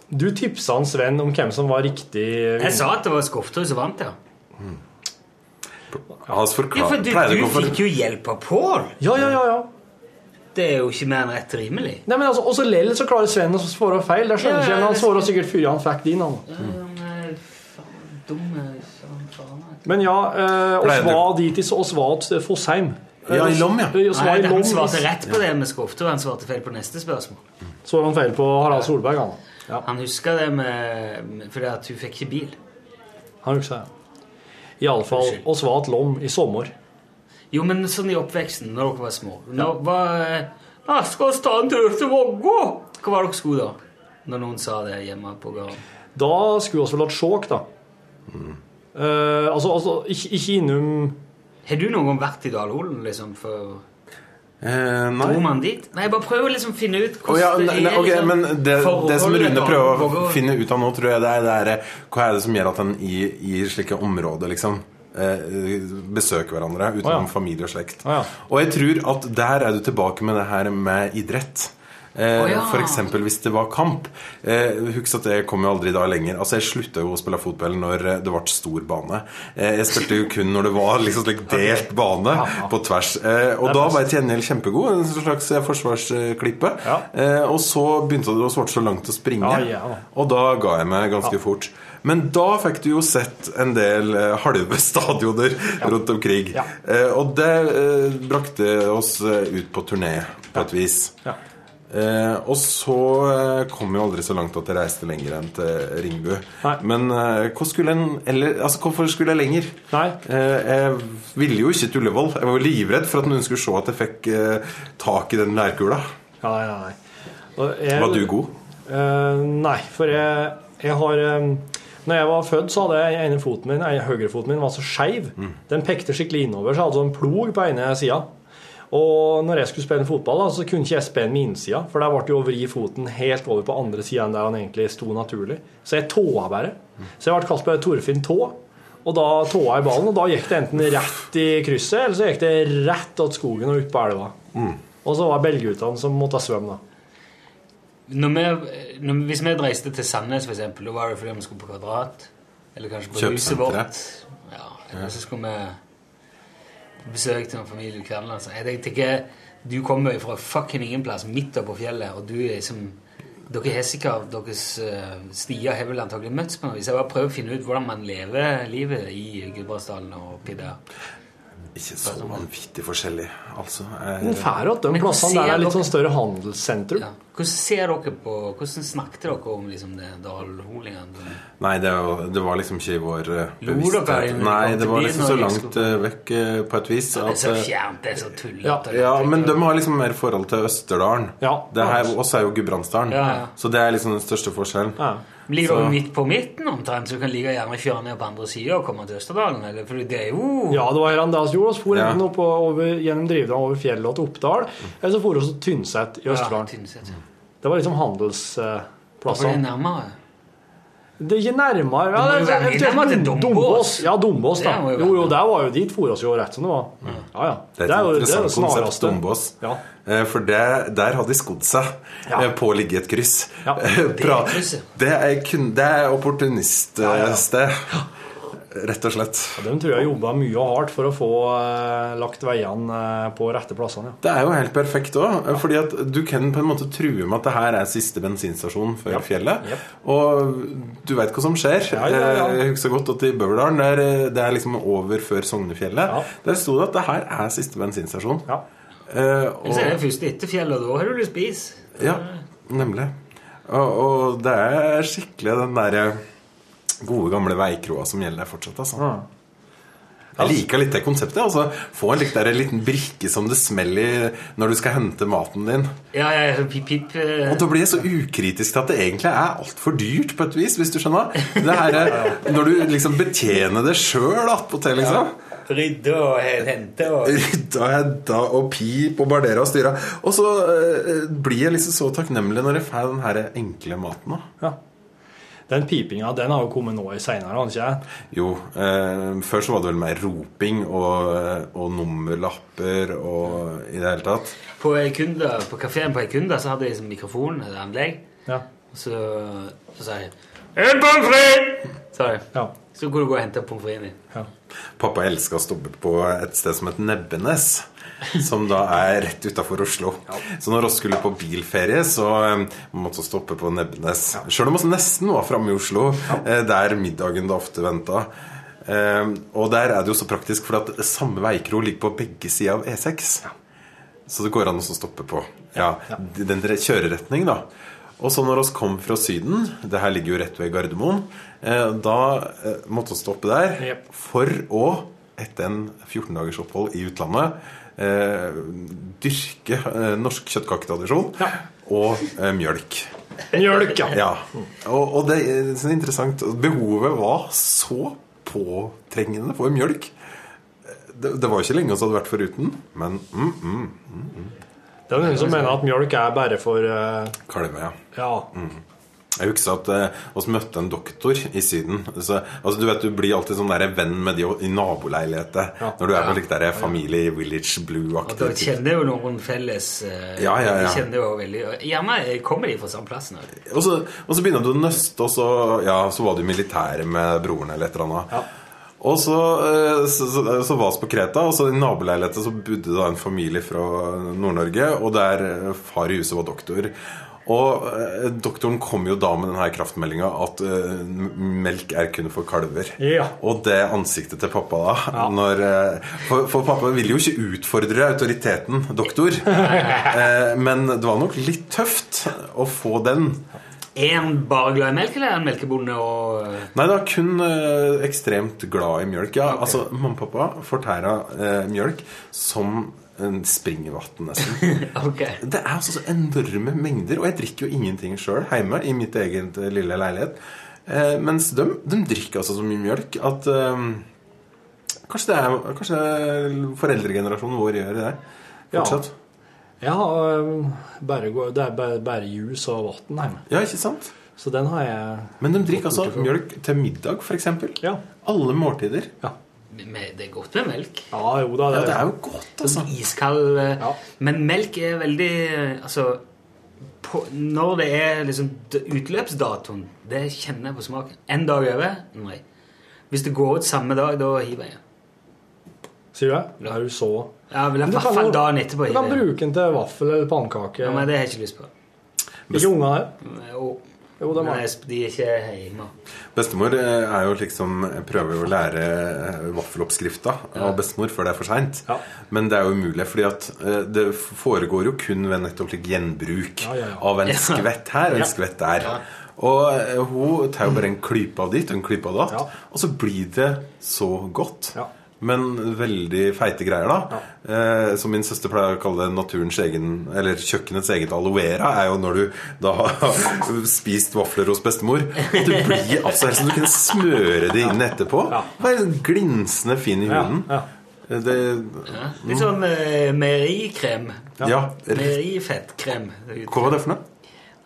Speaker 5: Du tipsa han Sven om hvem som var riktig vinner.
Speaker 10: Jeg sa at det var Skofterud som vant, ja.
Speaker 9: Hans
Speaker 10: Ja, for
Speaker 9: forklar...
Speaker 10: du,
Speaker 9: Pleier det
Speaker 10: du
Speaker 9: å gå for
Speaker 10: fikk jo hjelp av Pål.
Speaker 5: Ja, ja, ja, ja.
Speaker 10: Det er jo ikke mer enn rett rimelig.
Speaker 5: Nei, men altså, Også lell så klarer Sven å svare feil. Det skjønner
Speaker 10: Ja,
Speaker 5: ikke jeg,
Speaker 10: ja,
Speaker 5: men Han
Speaker 10: det-
Speaker 5: svara sikkert før han fikk din. han. Men ja, eh,
Speaker 9: Pleier
Speaker 5: oss
Speaker 9: du-
Speaker 5: var dit i oss var til Fossheim. Eh,
Speaker 9: Ja, i Lom, ja.
Speaker 5: eh, oss var
Speaker 10: Nei,
Speaker 5: i
Speaker 10: det-
Speaker 5: Lom.
Speaker 10: Han svarte rett på det med Skofterud. Han svarte feil på neste spørsmål.
Speaker 5: Så han feil på Harald Solberg, han. Ja,
Speaker 10: Han huska det med, med fordi at hun fikk ikke bil.
Speaker 5: han husker jeg. Iallfall oss var til Lom i sommer.
Speaker 10: Jo, men sånn i oppveksten, når dere var små Nå var ja, 'Skal vi ta en tur til Vågå?' Hva var dere skulle da? Når noen sa det hjemme på gården.
Speaker 5: Da skulle oss vel hatt sjåk, da.
Speaker 9: Mm.
Speaker 5: Eh, altså, altså ikke, ikke innom
Speaker 10: Har du noen gang vært i Dalholen, liksom? For
Speaker 9: eh, Nei.
Speaker 10: dro man dit? Nei, jeg bare prøver liksom å finne ut
Speaker 9: Å ja,
Speaker 10: hvordan
Speaker 9: nei, nei, ok,
Speaker 10: liksom,
Speaker 9: men det, det som
Speaker 10: forholdet
Speaker 9: Rune
Speaker 10: da,
Speaker 9: prøver å
Speaker 10: Vågå.
Speaker 9: finne ut av nå, tror jeg det er, det er eh, hva er det som gjør at en i, i slike områder liksom eh, besøker hverandre utenom
Speaker 5: Å ja.
Speaker 9: familie og slekt.
Speaker 5: Å ja.
Speaker 9: Og jeg tror at der er du tilbake med det her med idrett.
Speaker 10: Å
Speaker 9: Eh,
Speaker 10: ja.
Speaker 9: For eksempel hvis det var kamp. Eh, Husk at jeg kom jo aldri da lenger. Altså Jeg slutta jo å spille fotball når eh, det ble stor bane. Eh, jeg spilte jo kun når det var liksom slik delt bane på tvers. Eh, og da var jeg til gjengjeld kjempegod. En slags eh, forsvarsklippe.
Speaker 5: Ja.
Speaker 9: Eh, og så begynte det å svarte så langt å springe.
Speaker 5: Ja, ja, da.
Speaker 9: Og da ga jeg meg ganske fort. Men da fikk du jo sett en del eh, halve stadioner rundt omkring.
Speaker 5: Ja.
Speaker 9: Eh, og det eh, brakte oss eh, ut på turné, på et vis.
Speaker 5: Ja.
Speaker 9: Eh, og så eh, kom jeg aldri så langt at jeg reiste lenger enn til Ringbu.
Speaker 5: Nei.
Speaker 9: Men eh, hvor skulle en, eller, altså, hvorfor skulle jeg lenger?
Speaker 5: Nei.
Speaker 9: Eh, jeg ville jo ikke til Ullevål. Jeg var jo livredd for at noen skulle se at jeg fikk eh, tak i den lærkula.
Speaker 5: Ja, nei, nei, nei. Og jeg-
Speaker 9: Var du god?
Speaker 5: Eh, nei, for jeg, jeg har eh, Når jeg var født, så hadde jeg ene foten min, ene høyrefoten min var så skeiv. Den pekte skikkelig innover, så jeg hadde sånn plog på ene sida. Og når jeg skulle spille fotball, da, så kunne ikke jeg spille med innsida, for der ble det jo å vri foten helt over på andre sida enn der han egentlig sto naturlig. Så jeg tåa bare. Så jeg ble kalt bare Torfinn Tå. Og da tåa jeg ballen, og da gikk det enten rett i krysset, eller så gikk det rett åt skogen og ut på elva. Og så var belgutene som måtte svømme, da.
Speaker 10: Når vi, når, hvis vi reiste til Sandnes, for eksempel, da var det fordi vi skulle på Kvadrat. Eller kanskje på huset
Speaker 9: Kjøpesenteret.
Speaker 10: vårt. Ja, eller så skulle vi på besøk til noen familie i altså. Kverneland. så Jeg tenkte ikke Du kommer jo fra fucking ingen plass, midt oppe på fjellet, og du er liksom Dere har sikkert deres eh, stier har vel antagelig møttes på noe vis. Jeg bare prøver å finne ut hvordan man lever livet i Gudbrandsdalen og oppi der.
Speaker 9: Ikke så vanvittig forskjellig, altså.
Speaker 5: Men færre at de
Speaker 10: Men
Speaker 5: plassene der
Speaker 10: ser
Speaker 5: er litt
Speaker 10: dere-
Speaker 5: sånn større handelssentrum.
Speaker 10: Ja. Hvordan ser dere på Hvordan snakket dere om liksom, det dalholingene?
Speaker 9: Nei, det, var- det var liksom ikke i vår eh,
Speaker 10: Lo dere i
Speaker 9: bevissthet.
Speaker 10: den
Speaker 9: Nei,
Speaker 10: gang
Speaker 9: det
Speaker 10: til
Speaker 9: var
Speaker 10: byen
Speaker 9: liksom
Speaker 10: når
Speaker 9: så
Speaker 10: vi
Speaker 9: langt eh, vekk eh, på et vis
Speaker 10: Det er
Speaker 9: at
Speaker 10: så
Speaker 9: eh,
Speaker 10: fjernt, det er så tullete.
Speaker 5: Ja,
Speaker 9: ja, men de har liksom mer forhold til Østerdalen.
Speaker 5: Ja.
Speaker 9: Det her, oss er jo Gudbrandsdalen.
Speaker 10: Ja, ja.
Speaker 9: Så det er liksom den største forskjellen.
Speaker 5: Ja.
Speaker 10: Ligger
Speaker 9: Så-
Speaker 10: dere midt på midten omtrent, så du kan like gjerne kjøre ned på andre sida og komme til Østerdalen? Eller, for det er jo
Speaker 5: Ja, det var her han da gjorde. Vi for
Speaker 9: Ja. Mm.
Speaker 5: enten opp og over, gjennom Drivdalen over fjellet og til Oppdal, eller så for vi til Tynset i Østerdalen.
Speaker 10: Tynset. ja.
Speaker 5: Det var liksom
Speaker 10: For det er
Speaker 5: handelsplassene.
Speaker 10: nærmere.
Speaker 5: Det gikk nærmere ja,
Speaker 10: Det må jo
Speaker 5: det,
Speaker 10: være
Speaker 5: eventuelt
Speaker 10: nærmere til
Speaker 5: Dom-
Speaker 10: Dombås.
Speaker 5: Ja, Dombås, da.
Speaker 10: Det må jo være
Speaker 5: Jo,
Speaker 10: Mm.
Speaker 5: jo,
Speaker 10: nærmere.
Speaker 5: der var jo dit for oss jo rett som det var. Ja, ja.
Speaker 9: Det er et
Speaker 5: jo-
Speaker 9: interessant
Speaker 5: jo
Speaker 9: konsept,
Speaker 5: snareste.
Speaker 9: Dombås.
Speaker 5: Ja.
Speaker 9: Eh, For det, der hadde de skodd seg
Speaker 5: Ja.
Speaker 9: eh, på å ligge i et kryss. Eh,
Speaker 5: Ja.
Speaker 9: Pra-
Speaker 10: krysset.
Speaker 9: det er, kun- det er opportuniststed, rett og slett.
Speaker 5: De tror jeg jobba mye og hardt for å få eh, lagt veiene eh, på rette plassene. Ja.
Speaker 9: Det er jo helt perfekt òg, fordi at du kan på en måte true med at det her er siste bensinstasjon før fjellet. Og du veit hva som skjer.
Speaker 5: Ja, ja, ja.
Speaker 9: Eh, Jeg husker godt at i Bøverdalen, der eh, det er liksom over før Sognefjellet,
Speaker 5: Ja.
Speaker 9: der sto det at det her er siste bensinstasjon.
Speaker 5: Ja.
Speaker 9: Eh,
Speaker 10: Eller så er det først etter fjellet, og da har du lyst på is.
Speaker 9: Ja, nemlig. Og, og det er skikkelig den derre gode, gamle veikroa som gjelder fortsatt, altså.
Speaker 5: Mm.
Speaker 9: Jeg liker litt det konseptet. altså Få en litt der, en liten brikke som det smeller i når du skal hente maten din.
Speaker 10: Ja, ja, ja, eh. pip-pip.
Speaker 9: Og da blir jeg så ukritisk til at det egentlig er altfor dyrt, på et vis, hvis du skjønner. Det her, er- når du liksom betjener det sjøl attpåtil, liksom.
Speaker 10: Rydde og hente og
Speaker 9: Rydda, hedda og pip og bardera og styra. Og så eh, blir jeg liksom så takknemlig når jeg får den her enkle maten. da
Speaker 5: Den pipinga den har jo kommet nå i seinere, har den ikke? jeg?
Speaker 9: Jo, eh, før så var det vel mer roping og, eh, og nummerlapper og i det hele tatt.
Speaker 10: På Eikunda, på kafeen på Eikunda så hadde jeg liksom mikrofon, et anlegg,
Speaker 5: Ja.
Speaker 10: og så, så sa jeg En pommes frites! Sa jeg.
Speaker 5: Ja.
Speaker 10: Så kunne du gå og hente pommes fritesen din.
Speaker 9: Pappa elska å stoppe på et sted som het Nebbenes, som da er rett utafor Oslo. Så når oss skulle på bilferie, så eh, måtte vi stoppe på Nebbenes. Sjøl om oss nesten var framme i Oslo, eh, der middagen da ofte venta. Eh, og der er det jo så praktisk, for at samme veikro ligger på begge sider av E E6. Så det går an å stoppe på ja, den dre- kjøreretning, da. Og så når oss kom fra Syden Det her ligger jo rett ved Gardermoen. Eh, da eh, måtte vi stoppe der
Speaker 5: Jep.
Speaker 9: for å, etter en 14 dagers opphold i utlandet, eh, dyrke eh, norsk kjøttkaketradisjon og eh, mjølk.
Speaker 5: Mjølk, ja.
Speaker 9: Ja. Og, og det er så interessant. Behovet var så påtrengende for mjølk. Eh, Det, det var jo ikke lenge vi hadde vært foruten, men mm, mm,
Speaker 5: Det er noen som mener at mjølk er bare for eh,
Speaker 9: kalve, mm, ja.
Speaker 5: Ja.
Speaker 9: Jeg husker at eh, oss møtte en doktor i Syden. Så, altså Du vet, du blir alltid sånn der venn med de i naboleiligheter når du er på slik der familie i Village
Speaker 10: Og da
Speaker 9: Blue-aktig. type.
Speaker 10: kjenner jeg jo noen felles eh,
Speaker 9: Ja, ja, ja.
Speaker 10: Jeg kjenner jo veldig og Gjerne kommer de fra samme plassen. også.
Speaker 9: Og, så- og så begynner du å nøste, og så, ja, så var du i militæret med broren eller et eller annet. Og så, eh, så, så, så var vi på Kreta, og så i naboleiligheten så bodde da en familie fra Nord-Norge, og der eh, far i huset var doktor. Og eh, doktoren kom jo da med denne kraftmeldinga at eh, m- melk er kun for kalver.
Speaker 5: Ja.
Speaker 9: Og det ansiktet til pappa da når, eh, for, for pappa ville jo ikke utfordre autoriteten, doktor. Eh, Men det var nok litt tøft å få den.
Speaker 10: Er han bare glad i melk, eller er han melkebonde og
Speaker 9: Nei, det var kun eh, ekstremt glad i mjølk. Ja, altså, Mamma og pappa fortæra eh, mjølk som en springvann, nesten.
Speaker 10: eh, Ok.
Speaker 9: Det er altså så enorme mengder, og jeg drikker jo ingenting sjøl hjemme i mitt eget eh, lille leilighet. Eh, mens de, de drikker altså så mye mjølk at eh, Kanskje det er kanskje foreldregenerasjonen vår gjør det
Speaker 5: Ja.
Speaker 9: fortsatt.
Speaker 5: Jeg har eh, bare, gå- det er bare, bare juice og vann hjemme.
Speaker 9: Ja, ikke sant?
Speaker 5: Så den har jeg
Speaker 9: Men de drikker altså mjølk til middag, f.eks.
Speaker 5: Ja.
Speaker 9: Alle måltider.
Speaker 10: Men Det er godt med melk.
Speaker 5: Ja, jo da.
Speaker 9: Ja,
Speaker 5: Det,
Speaker 9: det er jo godt, altså.
Speaker 10: Sånn iskald eh,
Speaker 5: Ja.
Speaker 10: Men melk er veldig eh, Altså på, Når det er liksom d- utløpsdatoen, det kjenner jeg på smaken. En dag over? Nei. Hvis det går ut samme dag, da hiver jeg.
Speaker 5: Sier du det? Det er jo så
Speaker 10: Ja, vil jeg i
Speaker 5: Men du
Speaker 10: hvert
Speaker 5: kan jo-
Speaker 10: fall dagen etterpå
Speaker 5: Du kan
Speaker 10: hive.
Speaker 5: bruke den til vaffel eller pannekake.
Speaker 10: Ja, men det har jeg ikke lyst på. Eh,
Speaker 5: Ikke ungene her.
Speaker 10: Jo.
Speaker 5: Jo, det
Speaker 10: Nei,
Speaker 5: var
Speaker 10: de er ikke hjemme.
Speaker 9: Bestemor eh, er jo liksom prøver jo å lære eh, vaffeloppskrifta av bestemor før det er for seint.
Speaker 5: Ja.
Speaker 9: Men det er jo umulig, fordi at eh, det foregår jo kun ved nettopp slik gjenbruk
Speaker 5: Ja, ja, ja.
Speaker 9: av en skvett her og en skvett der. Og eh, hun tar jo bare en klype av dit og en klype av datt,
Speaker 5: Ja.
Speaker 9: og så blir det så godt.
Speaker 5: Ja.
Speaker 9: Men veldig feite greier, da. Eh, som min søster pleier å kalle det naturens egen Eller kjøkkenets eget aloe vera, er jo når du da har spist vafler hos bestemor. At det blir altså helt som du kunne smøre det inn etterpå.
Speaker 5: Ja.
Speaker 9: Være sånn glinsende fin i
Speaker 5: Ja,
Speaker 9: huden.
Speaker 5: ja.
Speaker 9: Eh, Det
Speaker 10: Litt sånn eh, meierikrem.
Speaker 9: Mm. Ja.
Speaker 10: Meierifettkrem. Det er
Speaker 9: Hva
Speaker 10: jo-
Speaker 9: var det for noe?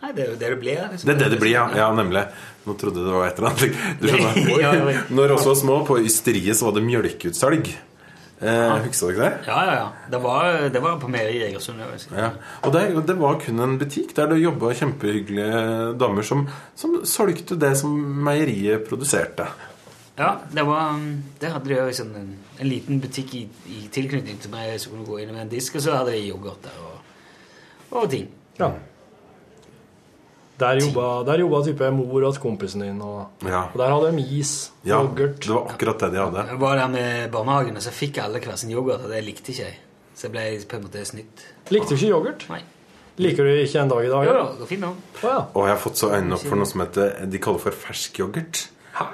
Speaker 10: Nei, det er jo det det blir. liksom.
Speaker 9: Det er det det blir, ja. ja nemlig. Nå trodde jeg det var et eller annet. Du skjønner.
Speaker 10: Ja, ja, ja.
Speaker 9: Når oss var små, på ysteriet så var det mjølkeutsalg. Eh, husker dere det?
Speaker 10: Ja, ja, ja. Det var, det var på Meri i Egersund. jeg vil si.
Speaker 9: Ja. Og det, det var kun en butikk der det jobba kjempehyggelige damer som, som solgte det som meieriet produserte.
Speaker 10: Ja, det var um, Der hadde de jo liksom en, en liten butikk i, i tilknytning til meg som kunne gå inn med en disk, og så hadde de yoghurt der og, og ting.
Speaker 5: Ja. Der jobba, der jobba type mor og kompisen din, og,
Speaker 9: Ja.
Speaker 5: og der hadde de is,
Speaker 9: Ja,
Speaker 5: yoghurt
Speaker 9: Det var akkurat det de hadde.
Speaker 10: Jeg var der med barnehagen, og så fikk alle hver sin yoghurt, og det likte ikke jeg. Så jeg ble på en måte snytt.
Speaker 5: Likte du ikke yoghurt?
Speaker 10: Nei.
Speaker 5: Liker du ikke en dag i dag?
Speaker 10: Jo,
Speaker 5: eller?
Speaker 10: jo, det går fint nå.
Speaker 5: Å, ja.
Speaker 9: Og jeg har fått så øynene opp for noe som heter De kaller for fersk yoghurt.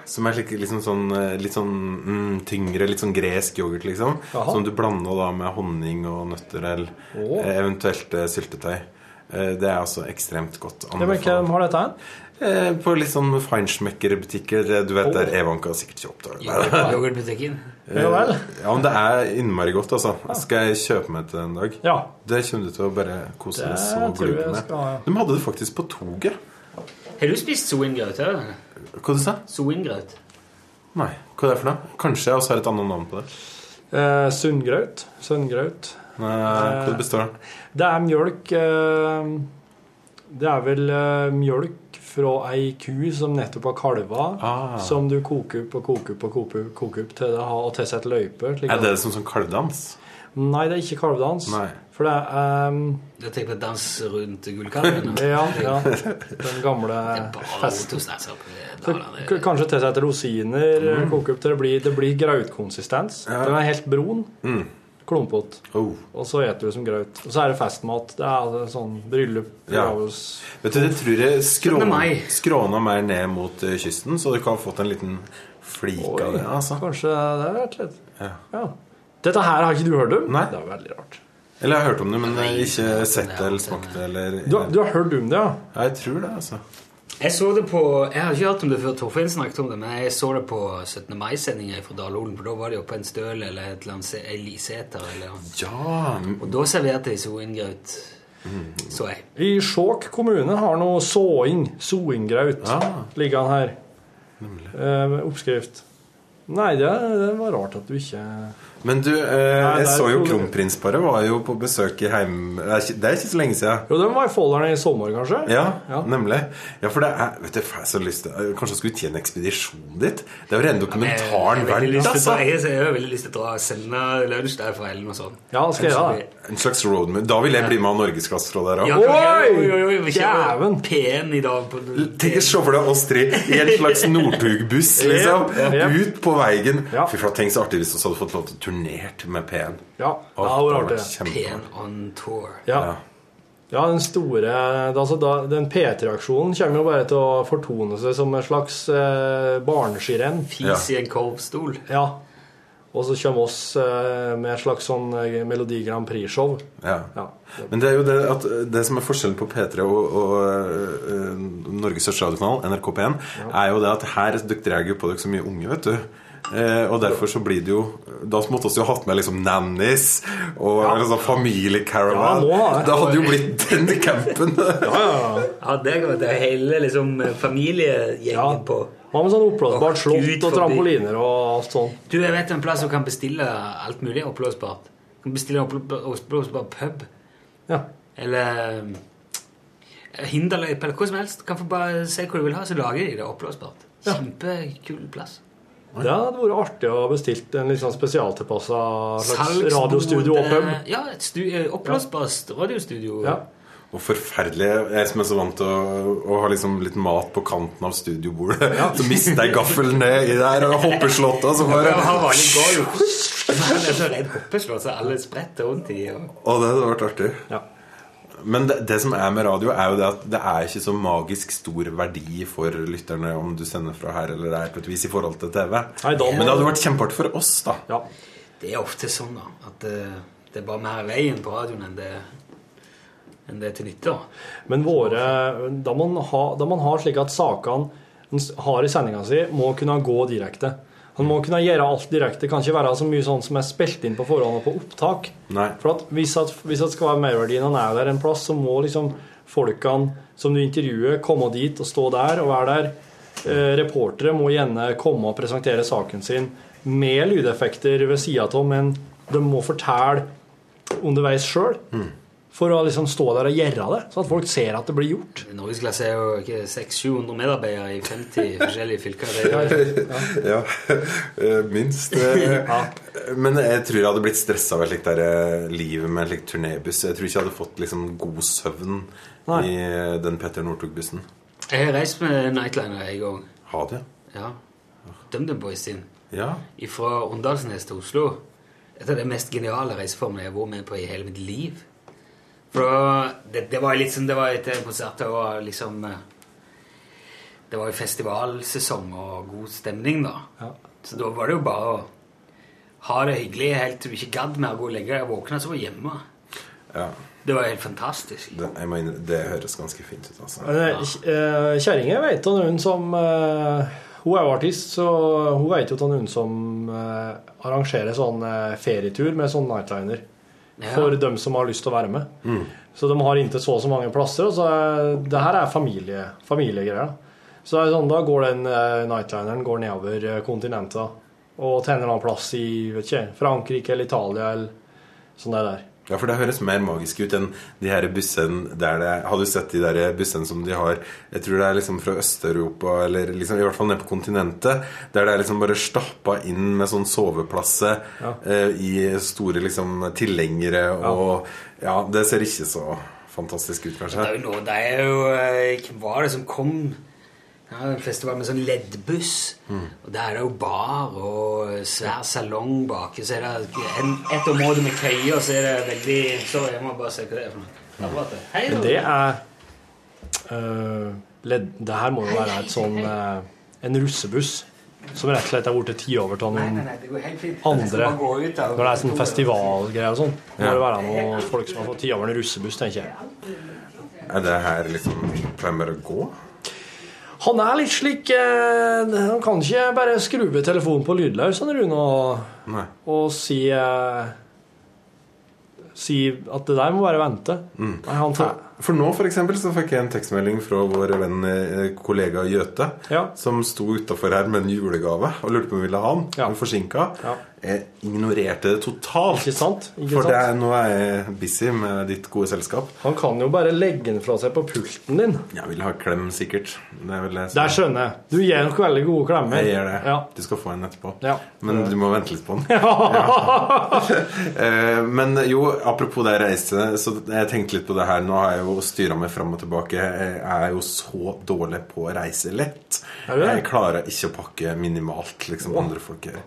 Speaker 9: Som er slik, liksom sånn, eh, litt sånn mm, tyngre, litt sånn gresk yoghurt, liksom.
Speaker 5: Jaha.
Speaker 9: Som du blander da med honning og nøtter eller
Speaker 5: Åh.
Speaker 9: eh, eventuelt eh, syltetøy. Eh, Det er altså ekstremt godt.
Speaker 5: Ja, men hvem har dette her?
Speaker 9: Eh, På litt sånn feinschmecker-butikker. eh, Du vet der Evanka sikkert kjøpt av. Nei,
Speaker 10: Yoghurt- Yoghurtbutikken.
Speaker 5: Ja vel.
Speaker 9: Ja, men det er innmari godt, altså. Skal jeg kjøpe meg til en dag?
Speaker 5: Ja.
Speaker 9: Det kommer du til å bare kose deg
Speaker 5: Det
Speaker 9: så
Speaker 5: tror jeg
Speaker 9: glugg med.
Speaker 5: skal, ja.
Speaker 9: De hadde det faktisk på toget.
Speaker 10: Har du spist soingraut? har du?
Speaker 9: Hva du sa
Speaker 10: Soingraut.
Speaker 9: Nei, hva er det for noe? Kanskje jeg også har et annet navn på det.
Speaker 5: Eh, Sunngraut. Sunngraut.
Speaker 9: Nei,
Speaker 5: Eh.
Speaker 9: hva det består av?
Speaker 5: Det er mjølk eh, Det er vel eh, mjølk fra ei ku som nettopp har kalva,
Speaker 9: Ah.
Speaker 5: som du koker opp og koker opp og koker opp, koker opp til det har og tilsetter løyper. slik
Speaker 9: Er
Speaker 5: at-
Speaker 9: det som sånn kalvdans?
Speaker 5: Nei, det er ikke kalvedans.
Speaker 9: Nei.
Speaker 5: For det er ehm,
Speaker 10: Da tenker jeg på dans rundt gullkalven.
Speaker 5: Ja, ja. Den gamle festen. Så k-
Speaker 10: Festen.
Speaker 5: kanskje tilsette rosiner, koke opp til det blir, det blir grautkonsistens. Den er helt brun. Klumpete.
Speaker 9: Oh.
Speaker 5: Og så eter du som graut. Og så er det festmat. Det er altså sånn bryllup,
Speaker 9: Ja.
Speaker 5: begravelse
Speaker 9: Vet du, det tror jeg
Speaker 10: Syttende
Speaker 9: skrån,
Speaker 10: mai.
Speaker 9: skråna mer ned mot eh, kysten, så du kan ha fått en liten flik
Speaker 5: Oi,
Speaker 9: av det, altså.
Speaker 5: Kanskje det er rett litt.
Speaker 9: Ja.
Speaker 5: Ja. Dette her har ikke du hørt om?
Speaker 9: Nei.
Speaker 5: Det er veldig rart.
Speaker 9: Eller jeg har hørt om det, men eh, ikke sett det eller smakt det eller
Speaker 5: Du, du har hørt om det, ja?
Speaker 9: Ja, jeg tror det, altså.
Speaker 10: Jeg så det på Jeg har ikke hørt om det før Torfinn snakket om det, men jeg så det på 17. mai-sendinga fra Dalolen, for da var de oppe en støl eller et eller annet se- ei liseter eller
Speaker 9: Ja,
Speaker 10: Og da serverte de soingraut, så jeg.
Speaker 5: I Skjåk kommune har noe såing. Soinggraut.
Speaker 9: Ah.
Speaker 5: Ligger han her. Eh, oppskrift. Nei, det, det var rart at du ikke
Speaker 9: Men du, eh, jeg
Speaker 5: Nei, det er
Speaker 9: så jo
Speaker 5: jo-
Speaker 9: kronprinsparet var jo på besøk i heim... Det er ikke, det er ikke så lenge siden.
Speaker 5: Jo, den var i folderen i sommer, kanskje?
Speaker 9: Ja,
Speaker 5: Ja.
Speaker 9: nemlig. Ja, for det er Vet du, jeg får så lyst til eh, Kanskje jeg skulle til en ekspedisjon dit? Det er jo rene dokumentaren
Speaker 10: jeg, har veldig
Speaker 9: verdt,
Speaker 10: lyst til å dra-
Speaker 9: altså.
Speaker 10: jeg, jeg har veldig lyst til å dra Selna Launch der for Ellen og sånn.
Speaker 5: Ja, det skal jeg gjøre det.
Speaker 9: En slags roadmove. Da vil jeg bli med av norgesklassefra der
Speaker 10: Ja,
Speaker 9: òg.
Speaker 10: kan jeg- Oi,
Speaker 5: Oi!
Speaker 10: oi, oi, vi kjører
Speaker 5: Dæven.
Speaker 10: P1 i dag. På,
Speaker 9: Tenk å se for deg oss tre i en slags Northug-buss, liksom.
Speaker 5: Ja, ja.
Speaker 9: Ut på veien.
Speaker 5: Ja.
Speaker 9: Fy flate, tenk så artig hvis vi hadde fått lov til å turnert med P1.
Speaker 5: Ja, det var
Speaker 9: Åh,
Speaker 5: rart,
Speaker 9: det
Speaker 5: det.
Speaker 9: hadde vært
Speaker 10: P1
Speaker 9: kjempeartig.
Speaker 10: on tour.
Speaker 5: Ja.
Speaker 9: Ja.
Speaker 5: ja, den store altså, da, Den P3-aksjonen kommer jo bare til å fortone seg som en slags eh, barneskirenn.
Speaker 10: Fis i en korvstol.
Speaker 5: Ja. Og så kommer oss eh, med et slags sånn eh, Melodi Grand Prix-show.
Speaker 9: Ja.
Speaker 5: Ja.
Speaker 9: Men det er jo det at eh, det som er forskjellen på P3 og, og øh, Norges største radiokanal, NRK P1, er jo det at her dere jo på dere så mye unge, vet du. Eh, og derfor så blir det jo Da måtte vi jo hatt med liksom nannies og eller sånn
Speaker 5: Ja,
Speaker 9: familiecaravan.
Speaker 5: må ha det.
Speaker 9: da hadde jo blitt den campen.
Speaker 10: Ja, det går det er hele liksom, familiegjengen på.
Speaker 5: Hva med sånn oppblåsbart
Speaker 10: Åh, Gud,
Speaker 5: slott og
Speaker 10: forbi.
Speaker 5: trampoliner og alt sånn?
Speaker 10: Du, jeg vet en plass som kan bestille alt mulig oppblåsbart. Du kan bestille oppblå- oppblåsbar pub
Speaker 5: Ja.
Speaker 10: eller um, hinderløype eller hva som helst. Du kan få bare si hva du vil ha, så lager de det oppblåsbart. Kjempekul plass.
Speaker 5: Det hadde vært artig å ha bestilt en litt sånn spesialtilpassa slags
Speaker 10: Salgsbod,
Speaker 5: radiostudio og pub.
Speaker 10: eh, Ja, et stu, eh, oppblåsbart radiostudio.
Speaker 5: Ja.
Speaker 9: Og og forferdelige Jeg som er så vant til å, å ha liksom litt mat på kanten av studiobordet, så mister jeg gaffelen ned i der og hoppeslåtta, så bare
Speaker 10: Han vanlig går jo Han er så redd hoppeslå, så alle spretter rundt i og
Speaker 9: Og det hadde vært artig. Men det, det som er med radio, er jo det at det er ikke så magisk stor verdi for lytterne om du sender fra her eller der, på et vis, i forhold til TV.
Speaker 5: Nei, da må-
Speaker 9: Men det hadde vært kjempeartig for oss, da.
Speaker 10: Det er ofte sånn da, at eh, det er bare mer veien på radioen enn det, enn det er til nytte. da.
Speaker 5: Men våre Da man, ha, da man har slik at sakene en s- har i sendinga si, må kunne gå direkte. Han må kunne gjøre alt direkte. Kan ikke være så mye sånn som er spilt inn på forhånd og på opptak.
Speaker 9: Nei.
Speaker 5: For at hvis, at, hvis det skal være merverdien han er der en plass, så må liksom folkene som du intervjuer, komme dit og stå der og være der. Eh, reportere må gjerne komme og presentere saken sin med lydeffekter ved sida av, men de må fortelle underveis sjøl. For å liksom stå der og gjøre det, så at folk ser at det blir gjort.
Speaker 10: Norgesklasse er jo ikke 600-700 medarbeidere i 50 forskjellige fylker. Det er jo
Speaker 9: Ja, eh, minst. eh. Men jeg tror jeg hadde blitt stressa av et slikt der, eh, liv med en slik turnébuss. Jeg tror ikke jeg hadde fått liksom, god søvn i eh, den Petter Northug-bussen.
Speaker 10: Jeg har reist med Nightliner, jeg òg.
Speaker 9: Ha det.
Speaker 10: Ja. DumDum Boys sin.
Speaker 9: Ja.
Speaker 10: Fra Åndalsnes til Oslo. Et av de mest geniale reiseformene jeg har vært med på i hele mitt liv. For det var- det, det var litt som det var etter en konsert. Det var liksom eh, Det var jo festivalsesong og god stemning, da. Så da var det jo bare å ha det hyggelig helt til du ikke gadd mer å gå og legge deg. Jeg våkna, så var jeg hjemme.
Speaker 9: Ja.
Speaker 10: Det var helt fantastisk.
Speaker 9: Det, jeg mener, det høres ganske fint ut, altså.
Speaker 5: Eh, Kjerringa vet om hun som eh, Hun er jo artist, så hun vet jo om hun som eh, arrangerer sånn eh, ferietur med sånn nightliner.
Speaker 10: Ja.
Speaker 5: For dem som har lyst til å være med. Så de har inntil så og så mange plasser. Og så er, det her er familie, familiegreier. da. Så det er sånn, da går den eh, nightlineren går nedover eh, kontinentet da, og til en eller annen plass i vet ikke, Frankrike eller Italia eller sånn det der.
Speaker 9: Ja, for det høres mer magisk ut enn de her bussene der det Har du sett de der bussene som de har Jeg tror det er liksom fra Øst-Europa, eller liksom, i hvert fall nede på kontinentet, der det er liksom bare stappa inn med sånn soveplasse
Speaker 5: Ja.
Speaker 9: eh, i store liksom tilhengere og Ja, det ser ikke så fantastisk ut,
Speaker 10: Det
Speaker 9: kanskje.
Speaker 10: er jo noe, det er jo eh, Hvem var det som kom? Det var en festival med sånn leddbuss.
Speaker 5: Mm.
Speaker 10: Og der er det jo bar og svær salong bak. Så er det en, et område med køyer, og så er det veldig Sorry, jeg må bare se hva det er for noe. Apparatet. Hei,
Speaker 5: Men det er øh, ledd, Det her må jo være et sånn øh, en russebuss som rett og slett er blitt ti over av
Speaker 10: Nei,
Speaker 5: noen
Speaker 10: nei, nei, det går helt fint. Jeg skal
Speaker 5: andre
Speaker 10: bare gå ut av-
Speaker 5: Når det er sånn festivalgreier og sånn.
Speaker 9: Ja.
Speaker 5: Må det være noen folk som har fått ti over en russebuss, tenker jeg.
Speaker 9: Er det her liksom Pleier man bare å gå?
Speaker 5: Han er litt slik øh, Han kan ikke bare skru ved telefonen på lydløs, han Rune, og,
Speaker 9: Nei.
Speaker 5: og si øh, Si at det der må bare vente.
Speaker 9: Mm.
Speaker 5: Nei, han får
Speaker 9: For nå for eksempel, så fikk jeg en tekstmelding fra vår venn eh, kollega Gjøte,
Speaker 5: Ja.
Speaker 9: som sto utafor her med en julegave og lurte på om vi ville ha den.
Speaker 5: Ja.
Speaker 9: Men forsinka.
Speaker 5: Ja.
Speaker 9: Jeg ignorerte det totalt.
Speaker 5: Ikke sant? Ikke
Speaker 9: for
Speaker 5: sant?
Speaker 9: det er, nå er jeg busy med ditt gode selskap.
Speaker 5: Han kan jo bare legge den fra seg på pulten din.
Speaker 9: Jeg vil ha klem, sikkert. Det er vel det som-
Speaker 5: Der skjønner jeg. Du gir nok veldig gode klemmer.
Speaker 9: jeg gjør det.
Speaker 5: Ja.
Speaker 9: Du skal få en etterpå.
Speaker 5: Ja.
Speaker 9: Men du må vente litt på den. Eh, Men jo, apropos det jeg reiste, så jeg tenkte litt på det her. Nå har jeg jo styra meg fram og tilbake. Jeg er jo så dårlig på å reise lett.
Speaker 5: Er du det?
Speaker 9: Jeg klarer ikke å pakke minimalt, liksom andre folk gjør.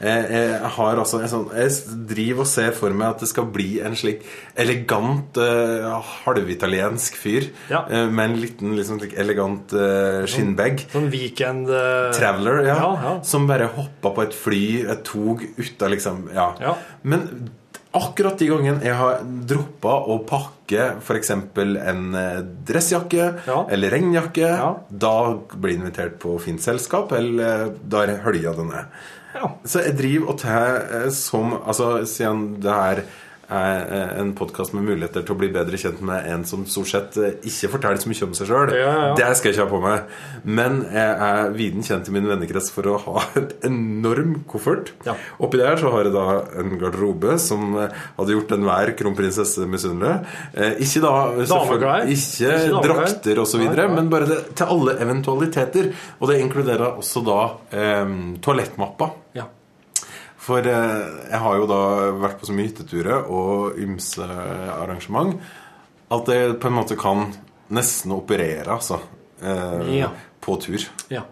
Speaker 9: Jeg, jeg har altså en sånn Jeg s- driver og ser for meg at det skal bli en slik elegant eh, halvitaliensk fyr
Speaker 5: Ja.
Speaker 9: eh, med en liten liksom, slik elegant eh, skinnbag.
Speaker 5: Sånn weekend eh,
Speaker 9: Traveler, ja,
Speaker 5: Ja, ja.
Speaker 9: Som bare hoppa på et fly, et tog, ut av liksom ja.
Speaker 5: Ja.
Speaker 9: Men akkurat de gangene jeg har droppa å pakke f.eks. en eh, dressjakke
Speaker 5: Ja.
Speaker 9: eller regnjakke,
Speaker 5: Ja.
Speaker 9: da blir jeg invitert på fint selskap, eller eh, da er hølja det ned.
Speaker 5: Ja.
Speaker 9: Så jeg driver og tar eh, som Altså, siden det her er eh, en podkast med muligheter til å bli bedre kjent med en som stort sett eh, ikke forteller så mye om seg sjøl.
Speaker 5: Ja, ja.
Speaker 9: Det skal jeg ikke ha på meg. Men jeg er viden kjent i min vennekrets for å ha en enorm koffert.
Speaker 5: Ja.
Speaker 9: Oppi der så har jeg da en garderobe som eh, hadde gjort enhver kronprinsesse misunnelig. Eh, Ikke da
Speaker 5: Dameklær.
Speaker 9: selvfølgelig-
Speaker 5: Ikke
Speaker 9: Ikke
Speaker 5: dameklær.
Speaker 9: drakter osv.,
Speaker 5: Nei, nei.
Speaker 9: men bare det, til alle eventualiteter. Og det inkluderer også da eh, toalettmappa.
Speaker 5: Ja.
Speaker 9: For eh, jeg har jo da vært på så mye hytteturer og ymse arrangement At det på en måte kan nesten operere, altså. eh,
Speaker 5: Ja.
Speaker 9: På tur.
Speaker 5: Ja.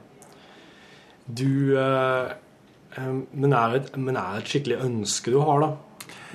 Speaker 5: Du eh, eh, men, er det, et- men er det et skikkelig ønske du har, da?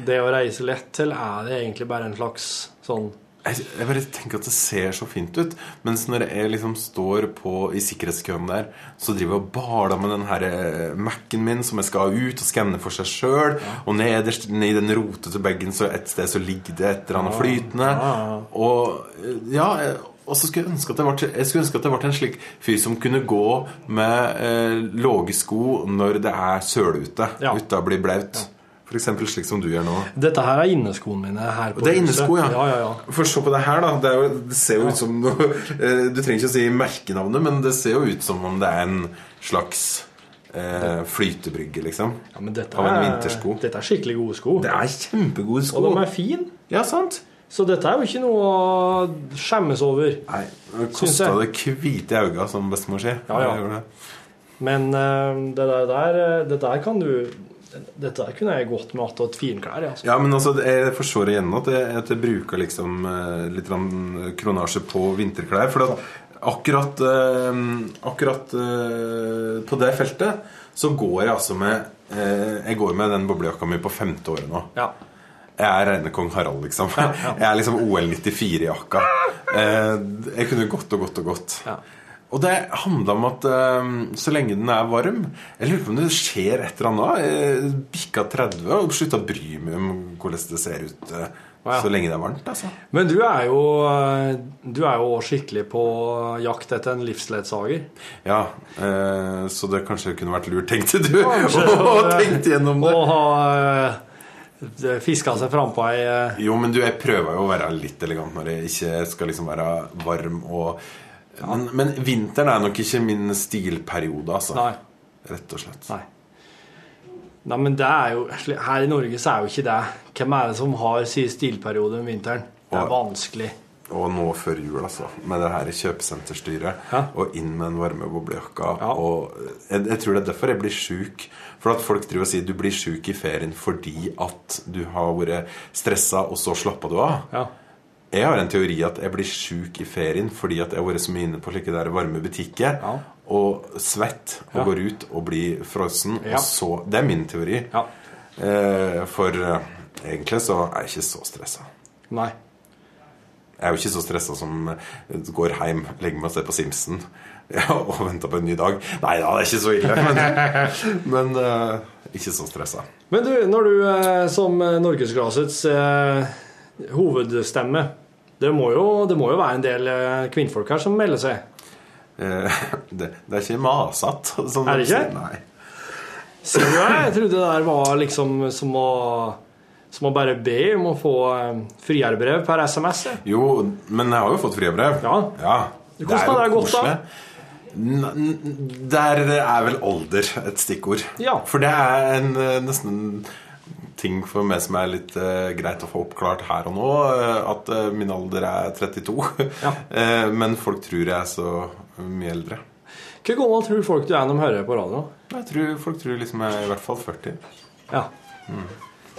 Speaker 5: Det å reise lett til, er det egentlig bare en slags sånn
Speaker 9: Jeg, jeg bare tenker at det ser så fint ut. Mens når jeg liksom står på i sikkerhetskøen der, så driver jeg og baler med den her eh, Mac-en min som jeg skal ha ut og skanne for seg sjøl. Og nederst i den rotete bagen så et sted så ligger det et eller annet
Speaker 5: Ja.
Speaker 9: flytende.
Speaker 5: Ja, ja.
Speaker 9: Og eh, ja eh, og så skulle jeg ønske at jeg ble, jeg skulle ønske at jeg ble en slik fyr som kunne gå med eh, lave sko når det er sølute,
Speaker 5: Ja.
Speaker 9: uten å bli blaut. For eksempel slik som du gjør nå.
Speaker 5: Dette her er inneskoene mine her på
Speaker 9: Det er
Speaker 5: huset.
Speaker 9: innesko, ja.
Speaker 5: ja, ja, ja.
Speaker 9: For se på det her, da. Det, er jo, det ser jo ut som noe eh, Du trenger ikke å si merkenavnet, men det ser jo ut som om det er en slags eh, flytebrygge, liksom. Av en vintersko.
Speaker 5: Dette er skikkelig gode sko.
Speaker 9: Det er kjempegode sko.
Speaker 5: Og de er fine.
Speaker 9: Ja, sant.
Speaker 5: Så dette er jo ikke noe å skjemmes over.
Speaker 9: Nei, Det
Speaker 5: Syns
Speaker 9: kosta det
Speaker 5: jeg.
Speaker 9: hvite i øynene, som bestemor sier.
Speaker 5: Ja, ja.
Speaker 9: Jeg gjorde det.
Speaker 5: Men eh, det der, der, det der kan du Dette der kunne jeg gått med attåt finklær. Ja, altså.
Speaker 9: Ja, men altså, jeg forstår igjen at jeg, at jeg bruker liksom eh, litt grann kronasje på vinterklær. For at akkurat, eh, akkurat eh, på det feltet så går jeg altså med eh, Jeg går med den boblejakka mi på femte året nå.
Speaker 5: Ja.
Speaker 9: Jeg er reine kong Harald, liksom. Jeg er liksom OL94-jakka. Eh, Jeg kunne gått og gått og gått. Og det handla om at eh, så lenge den er varm Jeg lurer på om det skjer et eller annet. Jeg Bikka 30 og slutta å bry meg om hvordan det ser ut eh,
Speaker 5: Ja.
Speaker 9: så lenge det er varmt. Altså.
Speaker 5: Men du er jo eh, Du er jo skikkelig på jakt etter en livsledsager.
Speaker 9: Ja, eh, så det kanskje kunne vært lurt, tenkte du.
Speaker 5: Kanskje,
Speaker 9: Og
Speaker 5: eh,
Speaker 9: tenkte gjennom det.
Speaker 5: Og har fiska eh, seg frampå ei eh,
Speaker 9: Jo, men du, jeg prøver jo å være litt elegant når jeg ikke skal liksom være varm og men, men vinteren er nok ikke min stilperiode, altså.
Speaker 5: Nei.
Speaker 9: Rett og slett.
Speaker 5: Nei. Nei, men det er jo altså, Her i Norge så er jo ikke det Hvem er det som har sin stilperiode om vinteren? Det er vanskelig.
Speaker 9: Og nå før jul, altså. Med det her kjøpesenterstyret. Og inn med den varme boblejakka. Og jeg, jeg tror det er derfor jeg blir sjuk. For at folk driver og sier du blir sjuk i ferien fordi at du har vært stressa, og så slappa du av. Jeg har en teori at jeg blir sjuk i ferien fordi at jeg har vært så mye inne på slike der varme butikker. Og svett og
Speaker 5: Ja.
Speaker 9: går ut og blir frossen.
Speaker 5: Ja.
Speaker 9: Og så Det er min teori. Eh, for eh, egentlig så er jeg ikke så stressa.
Speaker 5: Nei.
Speaker 9: Jeg er jo ikke så stressa som eh, går hjem, legger meg og ser på Simpson ja, og venter på en ny dag. Nei da, det er ikke så ille. Men, men eh, ikke så stressa.
Speaker 5: Men du, når du eh, som eh, Norgesglassets eh, hovedstemme det må, jo, det må jo være en del eh, kvinnfolk her som melder seg.
Speaker 9: Eh, det, det er ikke masete. som
Speaker 5: Er det
Speaker 9: de
Speaker 5: ikke?
Speaker 9: sier. Nei.
Speaker 5: Ser du det? Jeg trodde det der var liksom som å, som å bare be om å få eh, friarbrev per SMS. jeg.
Speaker 9: Jo, men jeg har jo fått fribrev. Ja.
Speaker 5: Det koster deg godt, da.
Speaker 9: N- n- Der eh, er vel alder et stikkord. For det er en, eh, nesten en ting for meg som er litt eh, greit å få oppklart her og nå, eh, at eh, min alder er 32. Eh, men folk tror jeg er så mye eldre.
Speaker 5: Hvor gammel tror folk du er når de hører på radio?
Speaker 9: Jeg tror Folk tror liksom jeg er i hvert fall 40.
Speaker 5: Ja. Mm.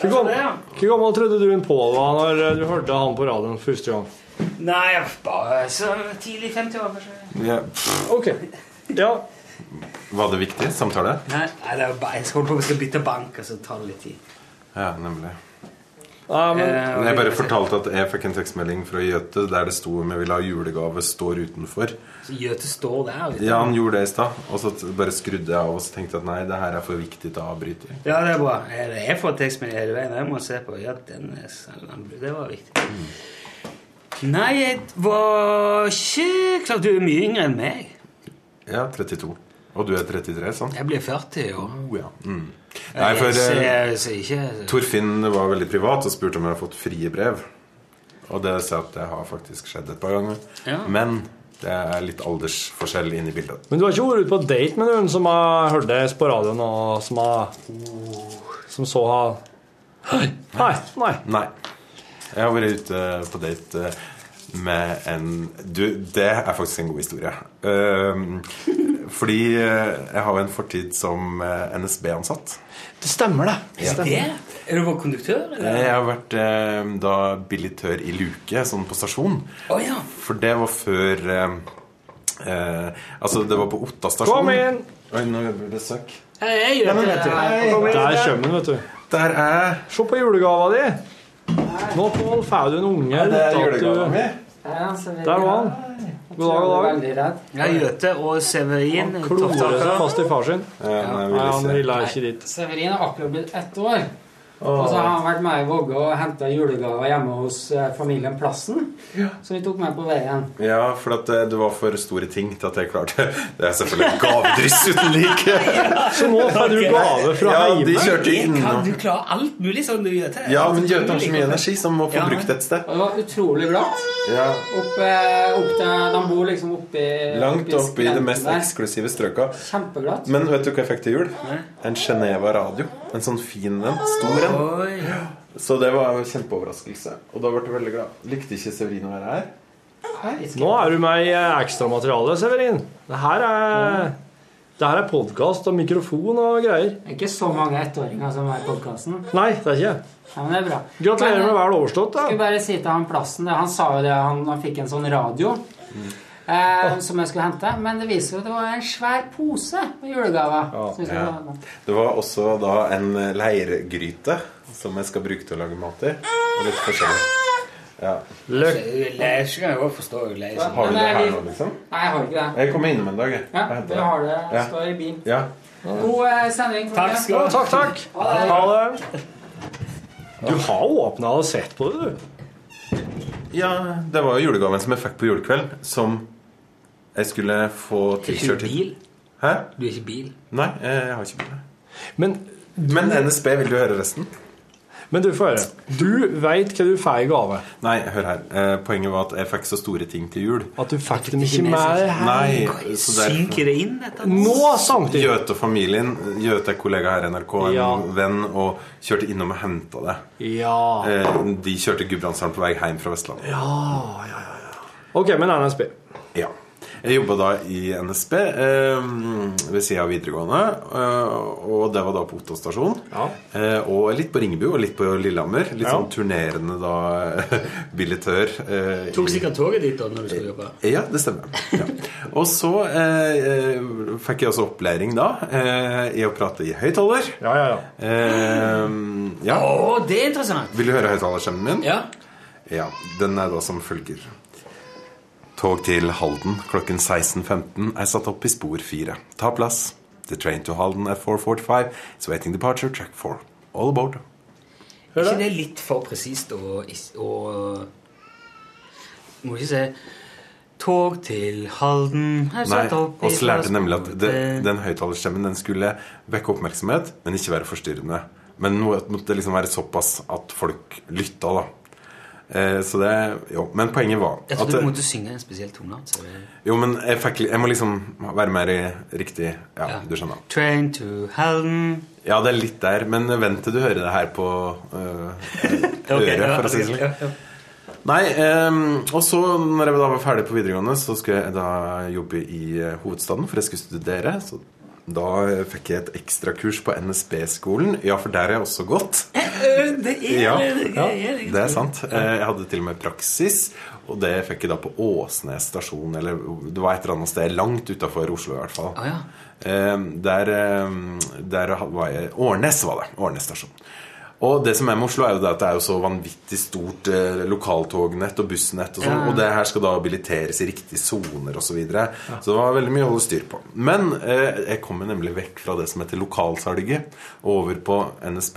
Speaker 5: Hvor gammel, hvor gammel trodde du en Pål var når eh, du hørte han på radioen første gang?
Speaker 10: Nei, bare så tidlig 50 år, kanskje.
Speaker 9: Ja.
Speaker 5: Ok. Ja.
Speaker 9: Var det viktig samtale?
Speaker 10: Nei, nei, det er bare, jeg skal holde på vi skal bytte bank, og så tar det litt tid.
Speaker 9: Ja, nemlig.
Speaker 10: Eh,
Speaker 9: Men jeg bare fortalte at jeg fikk en tekstmelding fra Jøte der det sto om jeg ville ha julegave, står utenfor.
Speaker 10: Så Gjøte står der. liksom. vet du.
Speaker 9: Ja, han gjorde det i stad, og så t- bare skrudde jeg av og så tenkte jeg at nei, det her er for viktig til å avbryte.
Speaker 10: Ja, det er bra. Jeg jeg får tekstmelding hele veien. og Jeg må se på. Ja, den er sann. Det var viktig. Nei, jeg var ikke Klart du er mye yngre enn meg.
Speaker 9: Ja, 32. Og du er 33, sant?
Speaker 10: Jeg blir 40 i år.
Speaker 9: Oh, ja. Mm. Nei, for
Speaker 10: jeg, ser,
Speaker 9: eh,
Speaker 10: jeg ser ikke
Speaker 9: Torfinn var veldig privat og spurte om jeg hadde fått frie brev. Og det sa jeg at det har faktisk skjedd et par ganger.
Speaker 5: Ja.
Speaker 9: Men det er litt aldersforskjell inne i bildet.
Speaker 5: Men du har ikke vært ute på date med noen som har hørt deg på radioen, og som har Som så har Nei. Nei.
Speaker 9: Nei. Jeg har vært ute på date eh, med en Du, det er faktisk en god historie. Um, Fordi eh, jeg har jo en fortid som eh, NSB-ansatt.
Speaker 5: Det stemmer, det.
Speaker 9: Ja.
Speaker 10: Er du vår konduktør?
Speaker 9: Eh, Jeg har vært eh, da billitør i luke, sånn på stasjon. For det var før eh, eh, Altså, det var på Otta stasjon.
Speaker 5: Kom inn!
Speaker 9: Oi, nå gjør vi besøk.
Speaker 10: Hei,
Speaker 5: Nei, men vet du. Der kommer den, vet du.
Speaker 9: Der er
Speaker 5: Se på julegava di! Nå, Pål, får du en unge.
Speaker 10: det er
Speaker 5: uten at du-
Speaker 10: julegava mi.
Speaker 5: Der var han. God dag, god dag.
Speaker 10: Ja, Jøte og Severin.
Speaker 5: Klorer seg fast i far sin.
Speaker 9: nei,
Speaker 5: Nei, han
Speaker 9: se.
Speaker 5: illa er ikke dit.
Speaker 11: Severin har akkurat blitt ett år.
Speaker 5: Åh.
Speaker 11: Og så har han vært med i Vågå og henta julegaver hjemme hos eh, familien Plassen. Som vi tok med på veien.
Speaker 9: Ja, for at eh, det var for store ting til at jeg klarte Det er selvfølgelig gavedryss uten like!
Speaker 10: Så nå får du gave fra
Speaker 9: ja,
Speaker 10: Heime?
Speaker 9: De kjørte inn.
Speaker 10: Kan du klare alt mulig sånn du gjør til?
Speaker 9: Ja, men Gjøte har så mye energi som må få
Speaker 11: Ja.
Speaker 9: brukt et sted.
Speaker 11: Og det var utrolig glatt.
Speaker 9: Ja,
Speaker 11: Opp, eh, opp til, de bor liksom oppi
Speaker 9: Langt oppi det
Speaker 11: skrenten
Speaker 9: mest
Speaker 11: der.
Speaker 9: eksklusive strøka.
Speaker 11: Kjempeglatt.
Speaker 9: Men vet du hva jeg fikk til jul? En Geneva radio. En sånn fin en. Stor en. Så det var en kjempeoverraskelse. Og da ble jeg veldig glad. Likte ikke Severin å være her?
Speaker 5: Nå er du med i eh, ekstramaterialet, Severin. Det her er, det her er podkast og mikrofon og greier.
Speaker 11: Det er ikke så mange ettåringer som er i podkasten.
Speaker 5: Nei, det er ikke.
Speaker 11: Ja, men eh, det er bra.
Speaker 5: Gratulerer med vel overstått, da.
Speaker 11: Skulle bare si til han plassen det, Han sa jo det, han, han fikk en sånn radio eh,
Speaker 9: Mm.
Speaker 11: som jeg skulle hente. Men det viser jo at det var en svær pose med julegaver.
Speaker 9: Ja.
Speaker 11: som vi skulle ha
Speaker 9: Ja.
Speaker 11: med.
Speaker 9: Det var også da en leirgryte som jeg skal bruke til å lage mat i. Og litt forskjellig. Ja.
Speaker 10: Leirskjøn kan jo også forstå leirskjøn.
Speaker 9: Har du det her nå, liksom?
Speaker 11: eh, Nei, jeg har ikke det.
Speaker 9: Jeg kommer innom en dag, jeg.
Speaker 11: Ja,
Speaker 9: Jeg henter
Speaker 11: vi har det.
Speaker 9: Ja.
Speaker 11: Står i bilen.
Speaker 9: Ja.
Speaker 11: God eh, sending.
Speaker 5: Takk skal du ha. Takk, takk. Ha det. Du har åpna og sett på det, du.
Speaker 9: ja, det var jo julegaven som jeg fikk på julekveld, som jeg skulle få tilkjørt
Speaker 10: bil?
Speaker 9: Hæ?
Speaker 10: Du er ikke bil?
Speaker 9: Nei, eh, jeg har ikke bil.
Speaker 5: Men,
Speaker 9: Men NSB, vil du høre resten?
Speaker 5: Men du får høre. Du veit hva du får i gave.
Speaker 9: Nei, hør her. Eh, poenget var at jeg fikk så store ting til jul.
Speaker 5: At du fikk dem ikke med deg her.
Speaker 9: Nei, så derfor-
Speaker 10: Synker det inn? dette?
Speaker 5: Nå sank det
Speaker 9: Gjøte og familien. Gjøte er kollega her i NRK, en
Speaker 5: Ja.
Speaker 9: venn, og kjørte innom og henta det.
Speaker 5: Ja.
Speaker 9: Eh, de kjørte Gudbrandsdalen på vei hjem fra Vestlandet.
Speaker 5: Ja, ja, ja. Ok, men NSB.
Speaker 9: Ja. Jeg jobba da i NSB eh, ved sida av videregående. Eh, og det var da på Otta stasjon. Eh, og litt på Ringebu og litt på Lillehammer. Litt
Speaker 10: Ja.
Speaker 9: sånn turnerende da billettør. Eh, i-
Speaker 10: Tok sikkert toget dit da når du skulle jobbe.
Speaker 9: Ja, det stemmer. Ja. Og så eh, eh, fikk jeg også opplæring da eh, i å prate i høyttaler.
Speaker 5: Ja, ja, ja.
Speaker 9: Eh, ja.
Speaker 10: Å, det er interessant.
Speaker 9: Vil du høre høyttalerstemmen min?
Speaker 10: Ja.
Speaker 9: ja. Den er da som følger. Tog til Halden klokken 16.15 er satt opp i spor 4. Ta plass. The train to Halden at 4.45 is waiting departure track 4. All aboard.
Speaker 10: Er ikke det litt for presist og, is- og Må ikke si Tog til Halden er
Speaker 9: Nei,
Speaker 10: satt opp i
Speaker 9: og så lærte jeg nemlig at
Speaker 10: transport-
Speaker 9: det, den høyttalerstemmen den skulle vekke oppmerksomhet, men ikke være forstyrrende. Men nå måtte det liksom være såpass at folk lytta, da. Eh, så det Jo, men poenget var
Speaker 10: Jeg trodde
Speaker 9: at-
Speaker 10: du måtte synge en spesiell altså. toneart. så det-
Speaker 9: Jo, men jeg, fikk, li- jeg må liksom være mer i riktig Ja, du skjønner.
Speaker 10: Train to Halden
Speaker 9: Ja, det er litt der, men vent til du hører det her på øh,
Speaker 10: Ok,
Speaker 9: øret,
Speaker 10: ja,
Speaker 9: for å si det
Speaker 10: ok,
Speaker 9: slik.
Speaker 10: ja, ja.
Speaker 9: Nei, ehm, og så når jeg da var ferdig på videregående, så skulle jeg da jobbe i eh, hovedstaden, for jeg skulle studere. Så da eh, fikk jeg et ekstrakurs på NSB-skolen. Ja, for der har jeg også gått.
Speaker 10: Det er
Speaker 9: Ja,
Speaker 10: det er-
Speaker 9: det er sant. Eh, Jeg hadde til og med praksis, og det fikk jeg da på Åsnes stasjon, eller det var et eller annet sted langt utafor Oslo, i hvert fall. Eh, Der, eh, der var jeg Årnes var det. Årnes stasjon. Og det som er med Oslo, er jo det at det er jo så vanvittig stort eh, lokaltognett og bussnett og sånn,
Speaker 10: Ja.
Speaker 9: og det her skal da habiliteres i riktige soner osv. Så, videre. så det var veldig mye å holde styr på. Men eh, jeg kommer nemlig vekk fra det som heter lokalsalget, og over på NSB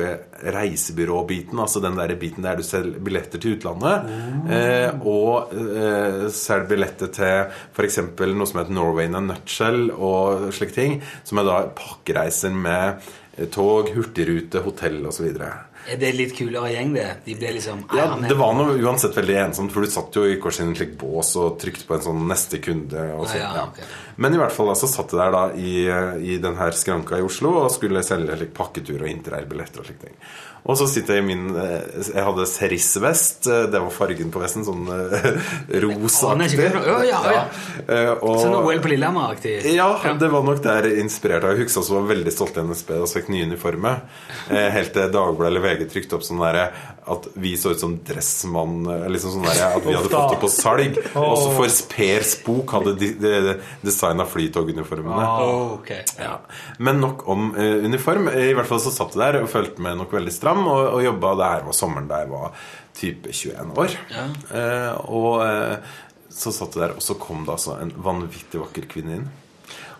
Speaker 9: reisebyrå-biten, altså den der biten der du selger billetter til utlandet, eh, og eh, selger billetter til f.eks. noe som heter Norway in a nutshell og slike ting, som er da pakkereiser med tog, hurtigrute, hotell osv.
Speaker 10: Er det litt kulere gjeng, det? De blir liksom
Speaker 9: Ja,
Speaker 10: Iron Man.
Speaker 9: det var noe uansett veldig ensomt, for du satt jo i hver sin slik bås og trykte på en sånn 'neste kunde' og sånn.
Speaker 10: Ah, ja,
Speaker 9: ja. Men i hvert fall da, så satt jeg der da i, i den her skranka i Oslo og skulle selge slik pakketur og interrail-billetter og slike ting. Og så sitter jeg i min eh, Jeg hadde serissvest. eh, Det var fargen på vesten. Sånn eh, rosaktig.
Speaker 10: ikke hva- Ja, ja, ja.
Speaker 9: Eh, og-
Speaker 10: Sånn OL på Lillehammer-aktig.
Speaker 9: ja, det var nok der inspirert av. Jeg husker også var veldig stolt av NSB da vi fikk nye uniformer. Eh, Helt til Dagbladet eller VG trykte opp sånn derre at vi så ut som dressmann eh, Liksom sånn derre at vi hadde
Speaker 12: Uff da.
Speaker 9: fått det på salg. Og så
Speaker 12: Åh.
Speaker 9: for Per Spook hadde de, de, de, designa flytoguniformene.
Speaker 10: Ah, ok.
Speaker 9: Ja. Men nok om eh, uniform. I hvert fall så satt jeg der og følte meg nok veldig stram og, og jobba. Det her var sommeren da jeg var type 21 år.
Speaker 10: Ja.
Speaker 9: Eh, og eh, så satt jeg der, og så kom det altså en vanvittig vakker kvinne inn.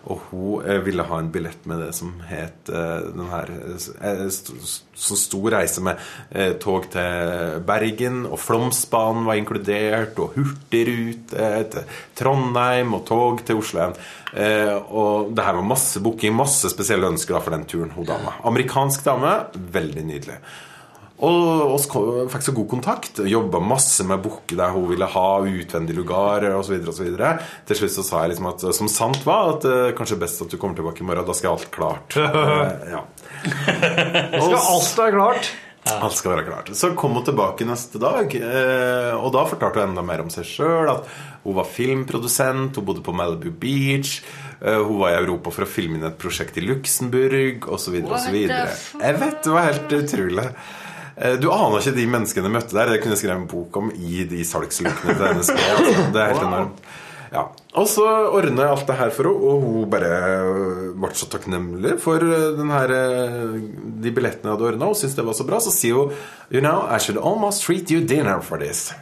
Speaker 9: Og hun eh, ville ha en billett med det som het eh, den her eh, st st Som sto reise med eh, tog til Bergen, og Flåmsbanen var inkludert, og Hurtigrute eh, til Trondheim, og tog til Oslo igjen. Eh, og det her var masse booking, masse spesielle ønsker da for den turen. Hun dama. Amerikansk dame. Veldig nydelig. Og oss kom, fikk så god kontakt. Jobba masse med å booke der hun ville ha, utvendig lugar osv. Til slutt så sa jeg liksom at som sant var, at eh, kanskje best at du kommer tilbake i morgen. Da skal alt klart. Eh, ja.
Speaker 5: Skal alt være klart?
Speaker 9: Alt skal være klart. Så kom hun tilbake neste dag, eh, og da fortalte hun enda mer om seg sjøl. At hun var filmprodusent, hun bodde på Malibu Beach, eh, hun var i Europa for å filme inn et prosjekt i Luxembourg osv.
Speaker 12: What
Speaker 9: osv.
Speaker 12: the fuck?
Speaker 9: Jeg vet, det var helt utrolig. Eh, Du aner ikke de menneskene jeg møtte der. Det kunne jeg skrevet en bok om i de salgslukene til NSB. Altså. Det er helt enormt. Ja. Og så ordna jeg alt det her for henne, og hun bare ble så takknemlig for den her, eh, de billettene jeg hadde ordna, og syntes det var så bra. Så sier hun You know, I should almost treat you dinner for this.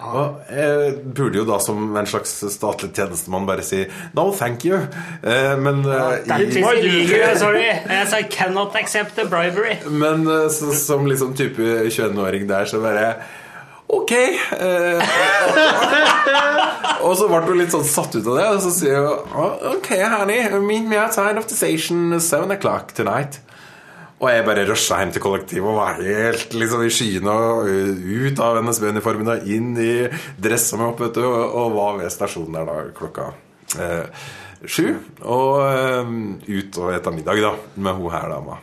Speaker 11: Ah.
Speaker 9: Og jeg burde jo da som en slags statlig tjenestemann bare si No, thank you. Eh, Men eh,
Speaker 11: Det er
Speaker 9: i-
Speaker 11: ikke legal, sorry. Jeg sa 'cannot accept the bribery'.
Speaker 9: men eh, så, som liksom type 21-åring der, så bare Ok! eh, og så ble hun litt sånn satt ut av det, og så sier hun «Oh, Ok, honey, meet me outside of the station seven o'clock tonight. Og jeg bare rusha hjem til kollektivet og var helt liksom i skyene og eh, ut av NSB-uniformen og inn i dressa mi opp, vet du, og, og var ved stasjonen der da klokka eh, sju. Og eh, ut og eta middag, da, med hun her dama.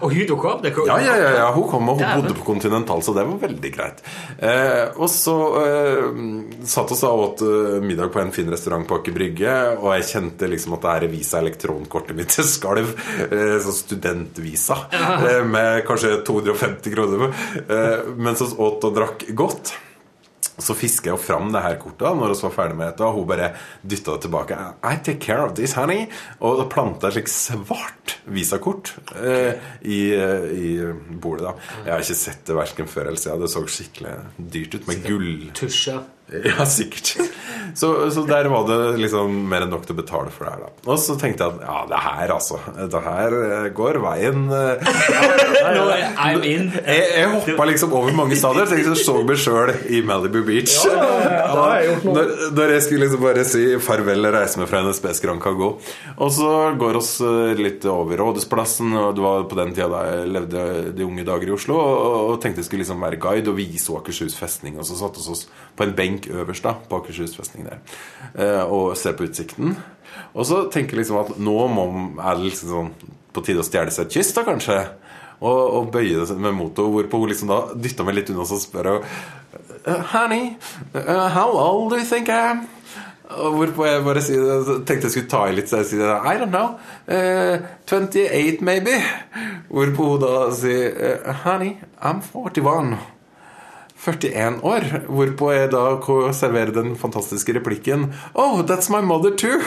Speaker 10: Og hun dukka opp? Det kom-
Speaker 9: Ja, ja, ja, ja, hun kom, og hun
Speaker 10: Dæven.
Speaker 9: bodde på Continental, så det var veldig greit. Eh, og så eh, satt oss da og åt eh, middag på en fin restaurant på Aker Brygge, og jeg kjente liksom at det her visa elektronkortet mitt skalv. Eh, sånn studentvisa eh, med kanskje 250 kroner. Eh, mens vi åt og drakk godt. Så fisker jeg jo fram det her kortet da, når vi var ferdig med dette, og hun bare dytta det tilbake. I take care of this, honey. Og da planta jeg slik svart visakort eh, i, eh, i bordet, da. Jeg har ikke sett det verken før eller siden. Det så skikkelig dyrt ut med gull.
Speaker 10: Tusja.
Speaker 9: Ja, sikkert. Så, så der var det liksom mer enn nok til å betale for det her, da. Og så tenkte jeg at ja, det her, altså. Det her eh, går veien. eh,
Speaker 10: Nå er I'm in.
Speaker 9: jeg, jeg hoppa liksom over mange stadier. Tenkte jeg liksom så meg sjøl i Malibu Beach. Når, når jeg skulle liksom bare si farvel og reise meg fra NSB-skranka og gå. Og så går oss eh, litt over Rådhusplassen, og det var på den tida da jeg levde de unge dager i Oslo, og, og tenkte jeg skulle liksom være guide og vise henne Akershus festning. Og så satte vi oss på en benk øverst da, på Akershus festning der, eh, og se på utsikten. Og så tenker jeg liksom at nå må, er det liksom sånn på tide å stjele seg et kyss, da kanskje. Og, og bøye det med mot henne, hvorpå hun liksom da dytta meg litt unna og så spør hun «Uh, Honey, uh, how old do you think I am? Og hvorpå jeg bare sier, tenkte jeg skulle ta i litt, så jeg sier I don't know. Uh, 28 maybe. Hvorpå hun da sier «Uh, Honey, I'm 41. 41 år. Hvorpå jeg da ko- serverer den fantastiske replikken Oh, that's my mother too.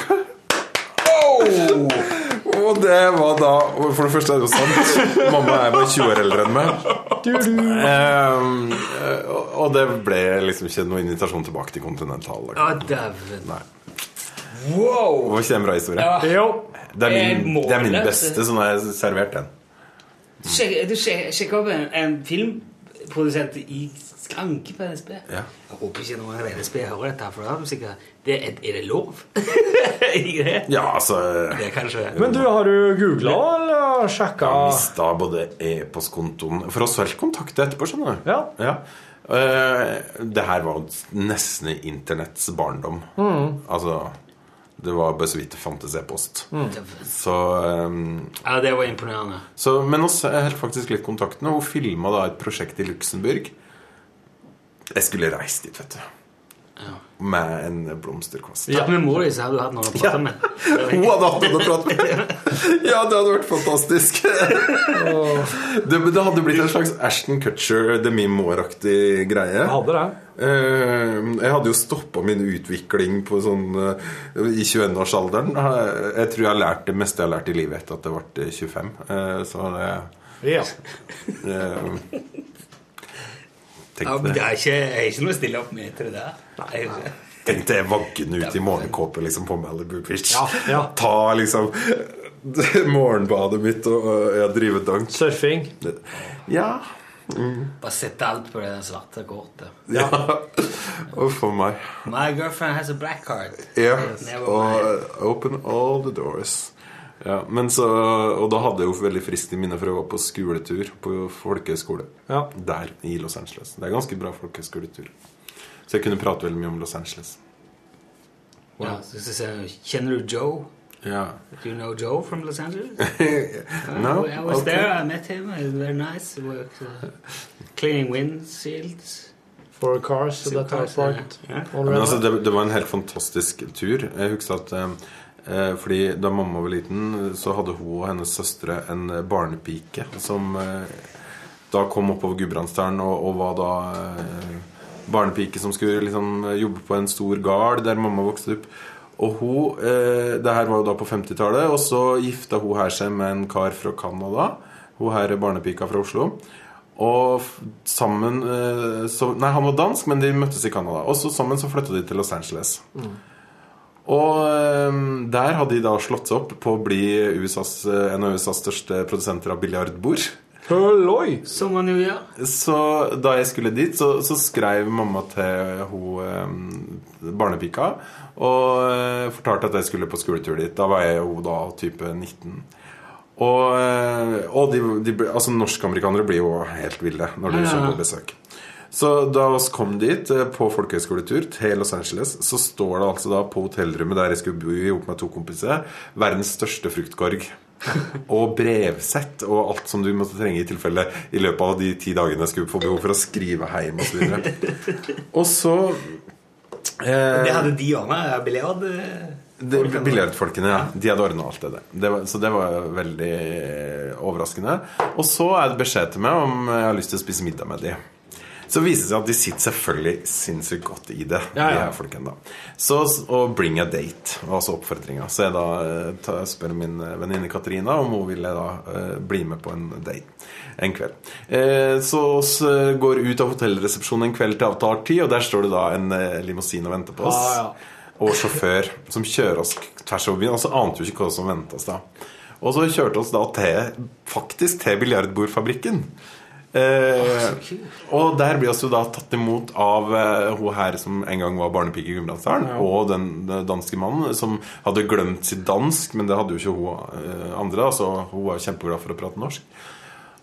Speaker 9: Og det var da For det første er det jo sant. Mamma er bare 20 år eldre enn meg. Ehm, eh, og- og det ble liksom ikke noen invitasjon tilbake til Continental. Det
Speaker 10: Å, dæven.
Speaker 9: var ikke det en bra historie?
Speaker 10: Ja. Jo.
Speaker 9: Det, er min,
Speaker 10: Eh,
Speaker 9: det er min
Speaker 10: målløs.
Speaker 9: beste sånn jeg har servert den.
Speaker 10: Sjekk sjekk- sjekk opp en, en film produsent i skranke på NSB.
Speaker 9: Ja.
Speaker 10: Jeg håper ikke noen av NSB hører dette, for da har de sikkert det er, er det lov?
Speaker 9: Ja, altså
Speaker 10: Det er kanskje
Speaker 5: Men du, har du googla eller sjekka
Speaker 10: Ah.
Speaker 9: mista både e-postkontoen For oss har kontakt etterpå, skjønner du.
Speaker 5: Ja.
Speaker 9: Eh, det her var jo nesten internetts barndom.
Speaker 10: Mm.
Speaker 9: Altså Det var bare så vidt det fantes e-post.
Speaker 10: Mm.
Speaker 9: Så, eh,
Speaker 10: Ja, det var imponerende.
Speaker 9: så Men oss holdt faktisk litt kontakten. Hun filma da et prosjekt i Luxembourg. Jeg skulle reist dit, vet du. Med en blomsterkvast.
Speaker 10: Snakk med mor di, så hadde du hatt noen å prate med.
Speaker 9: Hun hadde hatt noen å prate med! Ja, det hadde vært fantastisk. Det, det hadde blitt en slags Ashton Cutcher, Demi Moore-aktig greie. Eh,
Speaker 5: Hadde det.
Speaker 9: Jeg hadde jo stoppa min utvikling på sånn, eh, i 21-årsalderen. Eh, Jeg tror jeg har lært det meste jeg har lært i livet etter at jeg ble 25. Eh, Så eh, det,
Speaker 5: Ja.
Speaker 9: det
Speaker 10: Ja, men det er ikke, jeg er ikke noe å stille opp med til det der. Jeg er ikke-
Speaker 9: Tenkte jeg vaggende ut i morgenkåpe liksom, på Malibu Beach.
Speaker 10: Ja, ja.
Speaker 9: Ta liksom morgenbadet mitt og og jeg driver dank.
Speaker 5: Surfing.
Speaker 9: Ja. Mm.
Speaker 10: Bare sette alt på det der svarte kortet.
Speaker 9: Ja. Uff a meg.
Speaker 10: My girlfriend has a black card.
Speaker 9: Ja.
Speaker 10: Never
Speaker 9: Og
Speaker 10: mind.
Speaker 9: uh, open all the doors. Ja, men så, og da hadde jeg jo veldig friskt i minne for å gå på skoletur på folkehøyskole.
Speaker 5: Ja.
Speaker 9: Der i Los Angeles. Det er ganske bra folkehøyskoletur. Så jeg kunne prate veldig mye om Los Angeles.
Speaker 10: Ja, så skal jeg si, Kjenner du Joe?
Speaker 9: Ja.
Speaker 10: Do you know Joe from Los Angeles?
Speaker 9: No?
Speaker 10: I was
Speaker 9: Okay.
Speaker 10: there, I met him, he was very nice. He worked, uh, cleaning windshields.
Speaker 5: For cars so that are parked. on
Speaker 9: Ja,
Speaker 5: red
Speaker 9: men altså,
Speaker 5: light.
Speaker 9: det, det var en helt fantastisk tur. Jeg husker at eh, fordi Da mamma var liten, så hadde hun og hennes søstre en barnepike som eh, da kom oppover Gudbrandsdalen og, og var da eh, barnepike som skulle liksom jobbe på en stor gard der mamma vokste opp. Og hun, eh, det her var jo da på 50-tallet, og så gifta hun her seg med en kar fra Canada. Hun her er barnepika fra Oslo. Og f- sammen eh, så, Nei, han var dansk, men de møttes i Canada. Og så sammen så flytta de til Los Angeles.
Speaker 5: Mm.
Speaker 9: Og eh, der hadde de da slått seg opp på å bli USAs, eh, en av USAs største produsenter av biljardbord.
Speaker 5: Halloi!
Speaker 10: Som man jo gjør.
Speaker 9: Så da jeg skulle dit, så, så skrev mamma til hun eh, barnepika og eh, fortalte at jeg skulle på skoletur dit. Da var jeg jo da type 19. Og, eh, og de, de, ble- altså norskamerikanere blir jo helt ville når du
Speaker 10: Ja, ja, ja.
Speaker 9: kommer på besøk. Så da oss kom dit eh, på folkehøyskoletur til Los Angeles, så står det altså da på hotellrommet der jeg skulle bo ihop med to kompiser, verdens største fruktkorg. Og brevsett og alt som du måtte trenge i tilfelle i løpet av de ti dagene jeg skulle få behov for å skrive hjem osv. Og så eh,
Speaker 10: Det hadde de ordna. Biljard eh,
Speaker 9: det- Billiardfolkene, ja.
Speaker 5: Mm.
Speaker 9: De hadde ordna alt det der. Det var, så det var veldig eh, overraskende. Og så er det beskjed til meg om eh, jeg har lyst til å spise middag med de. Så viser det seg at de sitter selvfølgelig sinnssykt godt i det.
Speaker 5: Ja, ja.
Speaker 9: De her folkene da Så og 'bring a date' var altså oppfordringa. Så jeg da eh, ta- spør min eh, venninne Katarina om hun ville da eh, bli med på en date en kveld. Eh, så oss eh, går ut av hotellresepsjonen en kveld til avtalt tid, og der står det da en eh, limousin og venter på oss
Speaker 5: Ah, ja.
Speaker 9: og sjåfør som kjører oss tvers over byen. Og så ante vi ikke hva som ventet oss da. Og så kjørte oss da til, faktisk til biljardbordfabrikken. Eh, og der blir oss jo da tatt imot av eh, hun her som en gang var barnepike i Gudbrandsdalen,
Speaker 5: Ja.
Speaker 9: og den, den danske mannen som hadde glemt sitt dansk, men det hadde jo ikke hun eh, andre, da, så hun var jo kjempeglad for å prate norsk.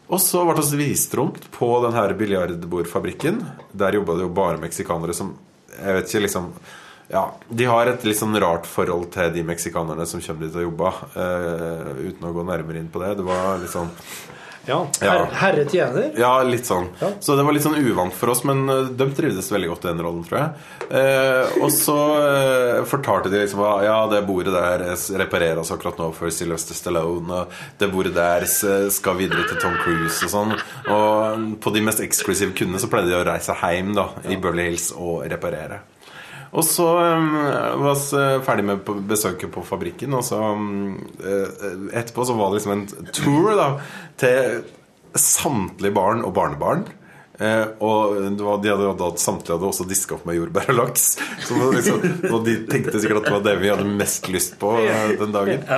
Speaker 9: Og så ble det vist rundt på den her biljardbordfabrikken. Der jobba det jo bare meksikanere som Jeg vet ikke, liksom ja, De har et litt sånn rart forhold til de meksikanerne som kommer dit og jobber. eh, uten å gå nærmere inn på det. Det var litt sånn
Speaker 5: Ja.
Speaker 9: Ja.
Speaker 5: Her, herre tjener.
Speaker 9: ja, litt sånn.
Speaker 5: Ja.
Speaker 9: Så det var litt sånn uvant for oss, men eh, de trivdes veldig godt i den rollen, tror jeg. Eh, og så eh, fortalte de liksom ah, Ja, det bordet der eh, repareres akkurat nå for Sylvester Stallone. Og det bordet der eh, skal videre til Tom Cruise og sånn. Og på de mest eksklusive kundene så pleide de å reise hjem da, i Burley Hills og reparere. Og så um, var vi ferdig med på- besøket på fabrikken, og så um, eh, Etterpå så var det liksom en tour da til samtlige barn og barnebarn. Eh, og det var, de hadde jo da samtlige hadde også diska opp med jordbær og laks. Så det var liksom, og de tenkte sikkert at det var det vi hadde mest lyst på eh, den dagen.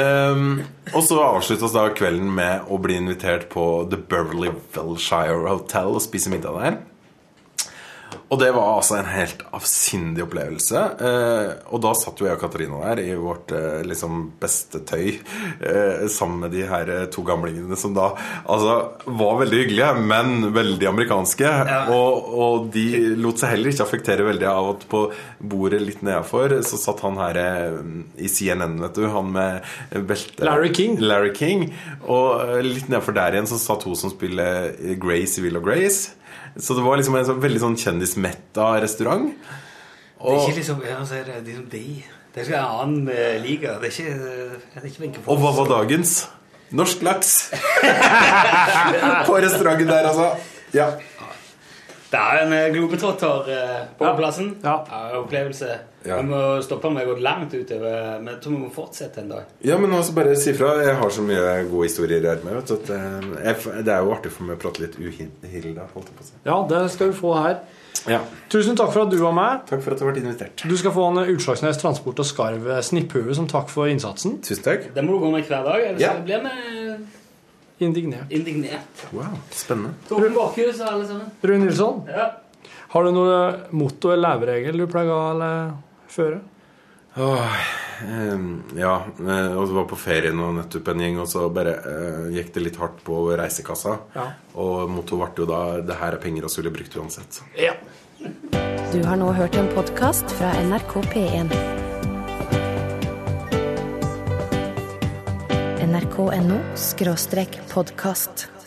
Speaker 9: Ehm, og så avsluttes da kvelden med å bli invitert på The Beverly Velshire Hotel og spise middag der. Og det var altså en helt avsindig opplevelse. Eh, og da satt jo jeg og Katarina der i vårt eh, liksom beste tøy eh, sammen med de her eh, to gamlingene som da altså var veldig hyggelige, men veldig amerikanske. Og, og de lot seg heller ikke affektere veldig av at på bordet litt nedafor så satt han her eh, i CNN, vet du, han med belte
Speaker 5: Larry King.
Speaker 9: Larry King. Og eh, litt nedfor der igjen så satt hun som spiller eh, Grace i Will of Grace. Så det var liksom en sånn, veldig sånn kjendismetta restaurant.
Speaker 10: Det er ikke liksom ja, så er det liksom de. Det er ikke en annen eh, liga. Det er ikke, eh, det er ikke Wenche Foss.
Speaker 9: Og hva var dagens? Norsk laks! På restauranten der, altså. Ja.
Speaker 2: Det er en eh, globetrotter eh, på plassen. Ja, opplevelse. Vi
Speaker 9: Ja.
Speaker 2: må stoppe med å gå langt utover. Men jeg tror vi må fortsette en dag.
Speaker 9: Ja, men også bare si fra. Jeg har så mye gode historier her med. Vet du, at eh, jeg, f- det er jo artig for meg å prate litt uhilda, holdt jeg på å si.
Speaker 5: Ja, det skal du få her.
Speaker 9: Ja.
Speaker 5: Tusen takk for at du var med.
Speaker 9: Takk for at du ble invitert.
Speaker 5: Du skal få en Utslagsnes Transport og Skarv eh, snipphue som takk for innsatsen.
Speaker 9: Tusen takk.
Speaker 2: Det må du gå med hver dag. Ellers
Speaker 5: Ja.
Speaker 2: så blir vi
Speaker 5: Indignert.
Speaker 2: indignert.
Speaker 9: Wow, spennende.
Speaker 2: Torben Bakhus og alle sammen.
Speaker 5: Rune Nilsson,
Speaker 2: Ja.
Speaker 5: har du noe motto eller leveregel du pleier å eller føre?
Speaker 9: Åh, ehm, ja, eh, og det var på ferie nå nettopp en gjeng, og så bare eh, gikk det litt hardt på reisekassa.
Speaker 5: Ja.
Speaker 9: Og mottoet ble jo da 'Det her er penger vi skulle brukt uansett'.
Speaker 1: Du har nå hørt en podkast fra NRK P1. NRK.no skråstrek podkast.